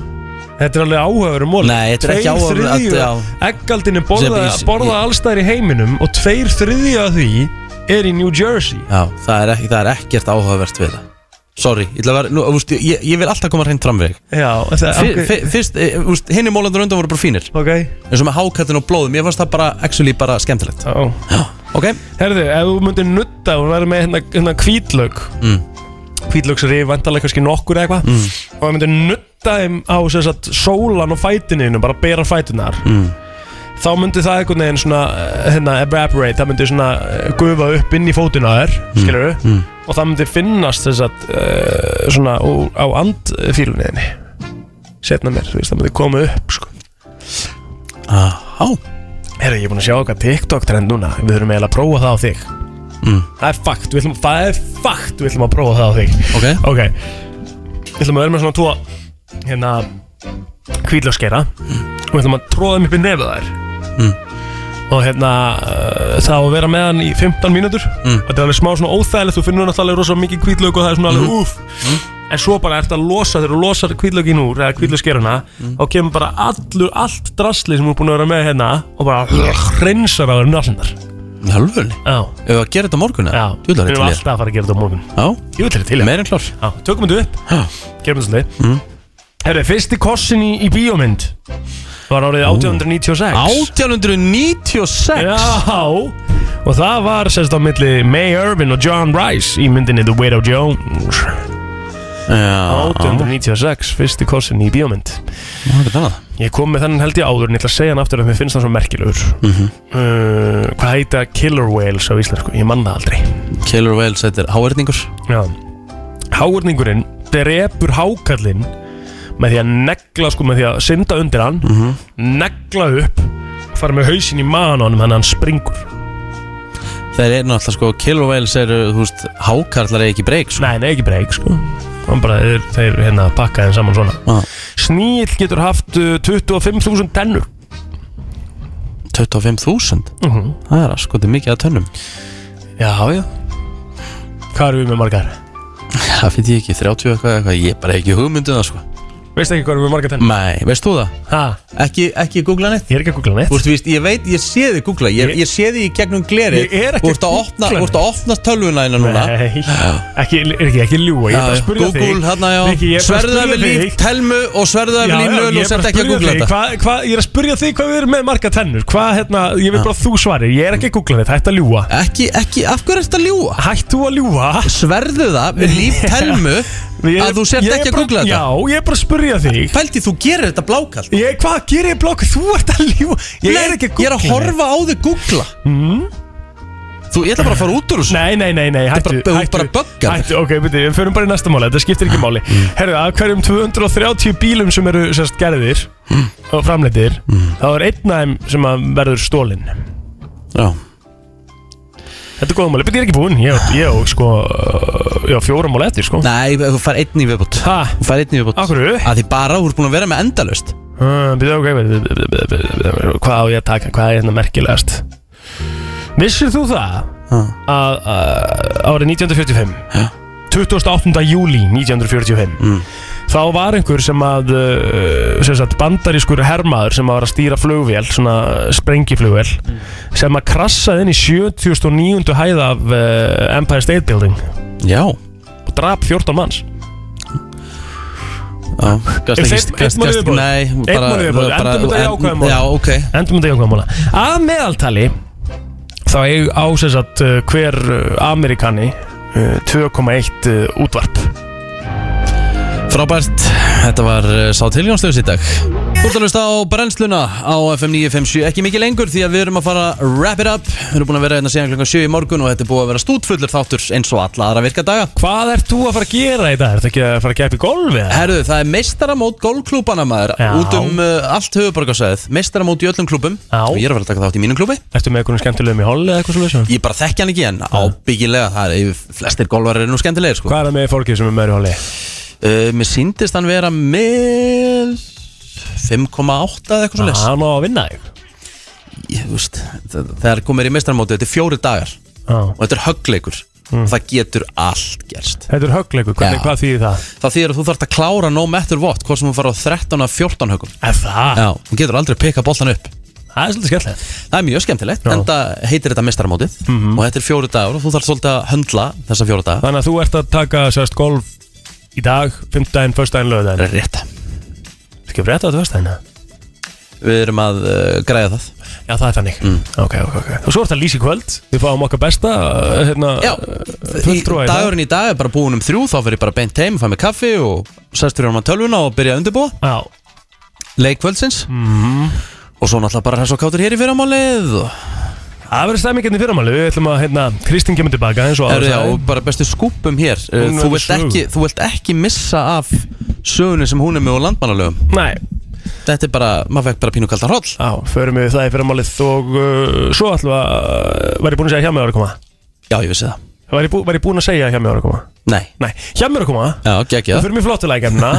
Speaker 2: Þetta er alveg áhugaveru mól
Speaker 1: Nei, þetta er ekki áhugaverður- þetta- já.
Speaker 2: Eggaldinu
Speaker 1: Sem
Speaker 2: borða,
Speaker 1: ég-
Speaker 2: borða allstæðar í heiminum og tveir þriðju af því er í New Jersey
Speaker 1: Já, það er, ekki, það er ekkert áhugavert við það Sorry, ég, ætla að vera, nú, úst, ég, ég vil alltaf koma hreint fram við þig.
Speaker 2: Já, það-
Speaker 1: Fyr-
Speaker 2: ok.
Speaker 1: fyr- Fyrst, eh, úst, hinn í mólandur undan voru bara fínir
Speaker 2: okay.
Speaker 1: eins og með hákattin og blóðum, ég fannst það bara actually bara skemmtilegt
Speaker 2: Já,
Speaker 1: ok
Speaker 2: Herðu, ef þú myndir nutta og verður með hérna, hérna kvítlaug
Speaker 1: mm.
Speaker 2: kvítlaugsrif, vantarlega kannski nokkur eða eitthvað
Speaker 1: Mm.
Speaker 2: og ef þú myndir nutta þeim á sem sagt, sólan og fætininu, bara bera fætunar
Speaker 1: Mm.
Speaker 2: þá myndi það einhvern veginn svona, eh, hérna, evaporate það myndi svona eh, gufa upp inn í fótuna á þér skilur
Speaker 1: Mm.
Speaker 2: og það myndi finnast þess að uh, svona úr- á andfílunniðinni setna mér, þú veist, það myndi koma upp sko.
Speaker 1: Aha
Speaker 2: Herru, ég er búin að sjá okkar TikTok trend núna Við þurfum eiginlega að prófa það á þig
Speaker 1: Mm.
Speaker 2: Það er fakt, við ætlum, það er fakt Við ætlum að prófa það á þig
Speaker 1: Ok
Speaker 2: Ok Við ætlum að vera með svona tvo Hérna Hvítlöskera Og við ætlum að tróða þeim upp í nefið þær
Speaker 1: Mm.
Speaker 2: Og hérna uh, Það á að vera með hann í 15 mínútur
Speaker 1: Mm.
Speaker 2: Þetta er alveg smá svona óþægilegt Þú finnur náttúrulega rosa mikið hvítlöku Og það er svona
Speaker 1: Mm.
Speaker 2: alveg úf En svo bara eftir að losa þegar þú losar kvíðlögin úr eða kvíðlögskeruna
Speaker 1: Mm.
Speaker 2: þá kemur bara allur, allt drasli sem þú er búin að vera með hérna og bara hreinsar á þeirra nallindar
Speaker 1: Hjálfurni?
Speaker 2: Já
Speaker 1: Ef við að gera þetta á morgun eða?
Speaker 2: Já,
Speaker 1: Djú, það er
Speaker 2: við erum
Speaker 1: til ég
Speaker 2: alltaf að fara að gera þetta á morgun
Speaker 1: Já,
Speaker 2: Jú, þetta er til ég
Speaker 1: Meir en klár
Speaker 2: Já, tökum þetta upp Gerum þetta svolítið
Speaker 1: Mm.
Speaker 2: Herru, fyrsti kossin í, í bíómynd var árið 1896
Speaker 1: 1896
Speaker 2: Já Og það var sérst á milli May Irvin og John Rice í myndinni The Widow Jones
Speaker 1: Já
Speaker 2: 1896, fyrsti kossin í bíómynd
Speaker 1: um
Speaker 2: Ég kom með þannig held ég áður en ég ætla að segja hann aftur að mér finnst hann svo merkilegur
Speaker 1: Mhm.
Speaker 2: uh, Hvað heita Killer Whales á íslensku? Ég manna aldrei
Speaker 1: Killer Whales, þetta er háverningur
Speaker 2: Já Háurningurinn drepur hákallinn með því að negla sko með því að synda undir hann
Speaker 1: Mhm.
Speaker 2: negla upp fara með hausinn í maðan á honum þannig að hann springur
Speaker 1: Þeir eru náttúrulega sko, Killer Whales eru, þú veist, hákarlar eða ekki breyk sko.
Speaker 2: Nei, nei, ekki breyk sko. hann bara, þeir, þeir hérna pakka þeim saman svona
Speaker 1: ah.
Speaker 2: Sníll getur haft uh, 25.000 tennur
Speaker 1: 25.000
Speaker 2: Mhm.
Speaker 1: Það er að sko, þetta er mikið að tönnum
Speaker 2: Já, já Hvað erum við með margar?
Speaker 1: Það finnst ég ekki, 30 eitthvað, eitthvað Ég er bara ekki hugmyndið það sko
Speaker 2: Veistu ekki hvað erum við með margar tennur?
Speaker 1: Nei, veist þú það?
Speaker 2: Ha?
Speaker 1: Ekki, ekki googla neitt
Speaker 2: Ég er ekki að googla neitt
Speaker 1: Þú veist, víst, ég veit, ég sé þið googla Ég, ég sé þið í gegnum gleri
Speaker 2: Ég er ekki
Speaker 1: Þú ert að
Speaker 2: að
Speaker 1: opna,
Speaker 2: googla
Speaker 1: þú ert að opna tölvuna hérna núna
Speaker 2: Nei, ekki, er ekki, ekki ljúa Ég er bara að spyrja þig
Speaker 1: Google, hérna já
Speaker 2: Viki, ég er bara að
Speaker 1: Sverðu það
Speaker 2: spyrja
Speaker 1: við
Speaker 2: þig.
Speaker 1: líf telmu og sverðu það
Speaker 2: Já,
Speaker 1: við líf
Speaker 2: já,
Speaker 1: nöl og
Speaker 2: ég er bara
Speaker 1: sett
Speaker 2: að
Speaker 1: ekki að
Speaker 2: spyrja
Speaker 1: googla
Speaker 2: þig,
Speaker 1: þetta
Speaker 2: hvað, hvað, Ég er að spyrja þig hvað við erum með marga tennur Hvað, hérna, ég vil bara að þú svarir Ég er ekki að googla þetta, hætt að ljúa
Speaker 1: Ekki, ekki, af hverju ert að ljúa?
Speaker 2: Hætt þú að ljúa
Speaker 1: Sverðu það við líf telmu
Speaker 2: Ég-
Speaker 1: að þú sért
Speaker 2: ég er
Speaker 1: ekki að
Speaker 2: bara-
Speaker 1: googla þetta
Speaker 2: Já, ég er bara að spyrja þig
Speaker 1: Pældi, þú gerir þetta blákall
Speaker 2: ég, Hvað gerir ég blokk? Þú ert að ljúa Ég
Speaker 1: Nei,
Speaker 2: er ekki að
Speaker 1: ég
Speaker 2: googla
Speaker 1: er að horfa á þig googla
Speaker 2: mm?
Speaker 1: Þú, ég ætla bara að fara út úr þessu
Speaker 2: Nei, nei, nei, nei, hættu
Speaker 1: bara- þú
Speaker 2: hættu,
Speaker 1: bara böggar.
Speaker 2: Hættu, ok, beti, við förum bara í næsta máli, þetta skiptir ekki máli
Speaker 1: Mm.
Speaker 2: Herðu, af hverjum 230 bílum sem eru sérst gerðir
Speaker 1: Mm.
Speaker 2: og framleitir þá er einn af þeim sem að verður stólinn
Speaker 1: Já
Speaker 2: Þetta er góða máli, beti, ég er ekki búinn Ég á- ég á, sko, ég á fjóra máli eftir, sko
Speaker 1: Nei, þú fær einn í viðbútt
Speaker 2: Ha?
Speaker 1: Þú fær einn í viðbútt
Speaker 2: Af hverju?
Speaker 1: Að því bara þú ert búin að vera með endalaust
Speaker 2: Uh, byrju, ok, byrju, byrju, byrju, byrju, byrju, byrju, byrju, Hvað á ég að taka, hvað er hérna merkilegast Vissir þú það að, að árið 1945 28. júli 1945 þá var einhver sem að uh, sem sagt, bandarískur hermaður sem að var að stýra flugvél, svona sprengiflugvél sem að krassaði inn í 79. hæð af uh, Empire State Building
Speaker 1: Já
Speaker 2: og drap 14 manns
Speaker 1: Já, gast
Speaker 2: Er
Speaker 1: ekki,
Speaker 2: þeim-
Speaker 1: gast
Speaker 2: einn mánuð
Speaker 1: ekki,
Speaker 2: viðbót?
Speaker 1: nei
Speaker 2: Einn
Speaker 1: bara-
Speaker 2: mánuð viðbót,
Speaker 1: bara-
Speaker 2: endum þetta í
Speaker 1: en-
Speaker 2: jákvæðum málum.
Speaker 1: Já, ok
Speaker 2: endum þetta í okkur mála að meðaltali þá eig á þess að hver eh, uh, Amerikani uh, 2,1 uh, útvarp
Speaker 1: Frábært, þetta var eh, sá tilgjónsljós í dag Þú ert að hlusta á brennsluna á FM 957 Ekki mikið lengur því að við erum að fara að wrap it up Við erum búin að vera hérna síðan klokkan 7 í morgun og þetta er búið að vera stútfullur þáttur eins og alla aðra virka daga
Speaker 2: Hvað ert þú að fara að gera í dag? Ert ekki að fara að gefa í golf eða?
Speaker 1: Herru, það er meistaramót golfklúbana maður
Speaker 2: Já.
Speaker 1: Út um uh, allt höfuborgarsæðið Meistaramót í öllum klúbum Já. Ég er að vera að taka þátt í mínum klúbi
Speaker 2: Ertu með einhvern skemmtilegum í holli eða eitthvað svolítið?
Speaker 1: Ég bara þekki hann ekki en ábyggilega Það er, flestir golfarar eru nú skemmtilegir sko.
Speaker 2: Hvað er það með fólkið sem er með í holli?
Speaker 1: Uh, mér síndist hann vera með 5,8 eða eitthvað svo leys
Speaker 2: Ah, Hann á að vinna þig
Speaker 1: Ég veist, þe- þegar komir í meistaramóti Þetta er fjóri dagar
Speaker 2: Já.
Speaker 1: og þetta er höggleikur
Speaker 2: Mm.
Speaker 1: og það getur allt gerst
Speaker 2: Þetta er höggleikur, hvernig,
Speaker 1: Já.
Speaker 2: hvað þýðir það?
Speaker 1: Það þýðir að þú þarft að klára no matter what hvort sem þú fara á 13 af 14 höggum
Speaker 2: Það?
Speaker 1: Já, þú getur aldrei að pikka boltan upp
Speaker 2: Það er svolítið skemmtilegt
Speaker 1: Það er mjög skemmtilegt, en það heitir þetta meistaramótið
Speaker 2: Mhm.
Speaker 1: og þetta er fjóri dagar og þú þarft svolítið að höndla þessa fjóri dagar
Speaker 2: Þannig að þú ert að taka sérst golf í dag, fimmtdæðin, föstdæðin, lögdæðin
Speaker 1: Rétt
Speaker 2: Ekki frétta þetta föstdæðina?
Speaker 1: Við erum að uh, græða það
Speaker 2: Já, það er þannig mm. Ok, ok, ok Og svo ert að lýsa í kvöld Við fáum okkar besta uh, hérna,
Speaker 1: Já, í,
Speaker 2: fulltrúa í dag.
Speaker 1: dagurinn í dag er bara búin um þrjú þá fer ég bara beint heim, fæ mig kaffi og sest fyrir hann á tölvuna og byrja að undirbúa
Speaker 2: Já.
Speaker 1: leikvöldsins
Speaker 2: mm.
Speaker 1: og svo náttúrulega bara hess og kátur hér í fyrramálið og
Speaker 2: Það verður stemmingin í fyrramáli Við ætlum að, hérna, Kristín kemur tilbaka eins og
Speaker 1: Herru,
Speaker 2: áður
Speaker 1: já,
Speaker 2: sagði.
Speaker 1: og bara bestu skúpum hér Eh,
Speaker 2: Hún
Speaker 1: þú
Speaker 2: verður
Speaker 1: vilt, ekki, þú vilt ekki missa af sögunni sem hún er með á landmannalögum
Speaker 2: Nei
Speaker 1: Þetta er bara, maður fekk bara pínu kaldan hroll
Speaker 2: Já, förum við það í fyrramálið og uh, svo ætlum við að uh, Var ég búin að segja hjá mig ára koma?
Speaker 1: Já, ég vissi það
Speaker 2: Var ég, bú, var ég búin að segja hjá mig ára koma?
Speaker 1: Nei
Speaker 2: Nei, hjá mig ára koma
Speaker 1: Já, geggja
Speaker 2: Við fyrir mér flottulækjafna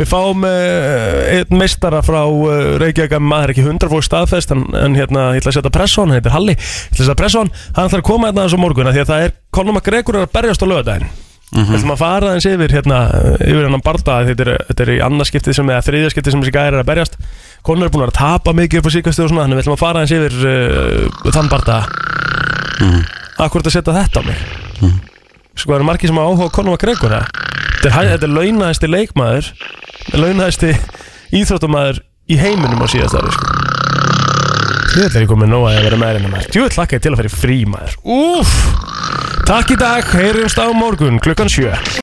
Speaker 2: Við fáum uh, einn meistara frá uh, Reykjavík að maður er ekki 100 fólk staðfest en, en hérna, ég ætla að setja press á hann, hann heitir Halli Ég ætla að setja press á hann, hann ætlar að koma hérna aðeins á morgun af því að það er Conor McGregor er að berjast á lögadaginn Við ætlum að fara aðeins yfir hérna, yfir hennan barda þetta er, þetta er í annarskiptið sem eða þriðjaskiptið sem þessi gæri er að berjast Conor er búin að vera að tapa mikið upp á síkastu og svona þannig við ætlum að fara aðeins yfir uh, þann barda Mm. Akkur að setja þetta á mig Sko það eru margir sem hafa áhuga á Conor McGregor eða? Þetta er, hæ- þetta er launaðasti leikmaður Launaðasti íþróttamaður í heiminum á síðast ári sko. Þetta er ég komið nóg að ég að vera með hérna maður Djúið hlakka ég til að fara í frí maður Úf Takk í dag, heyrjumst á morgun klukkan sjö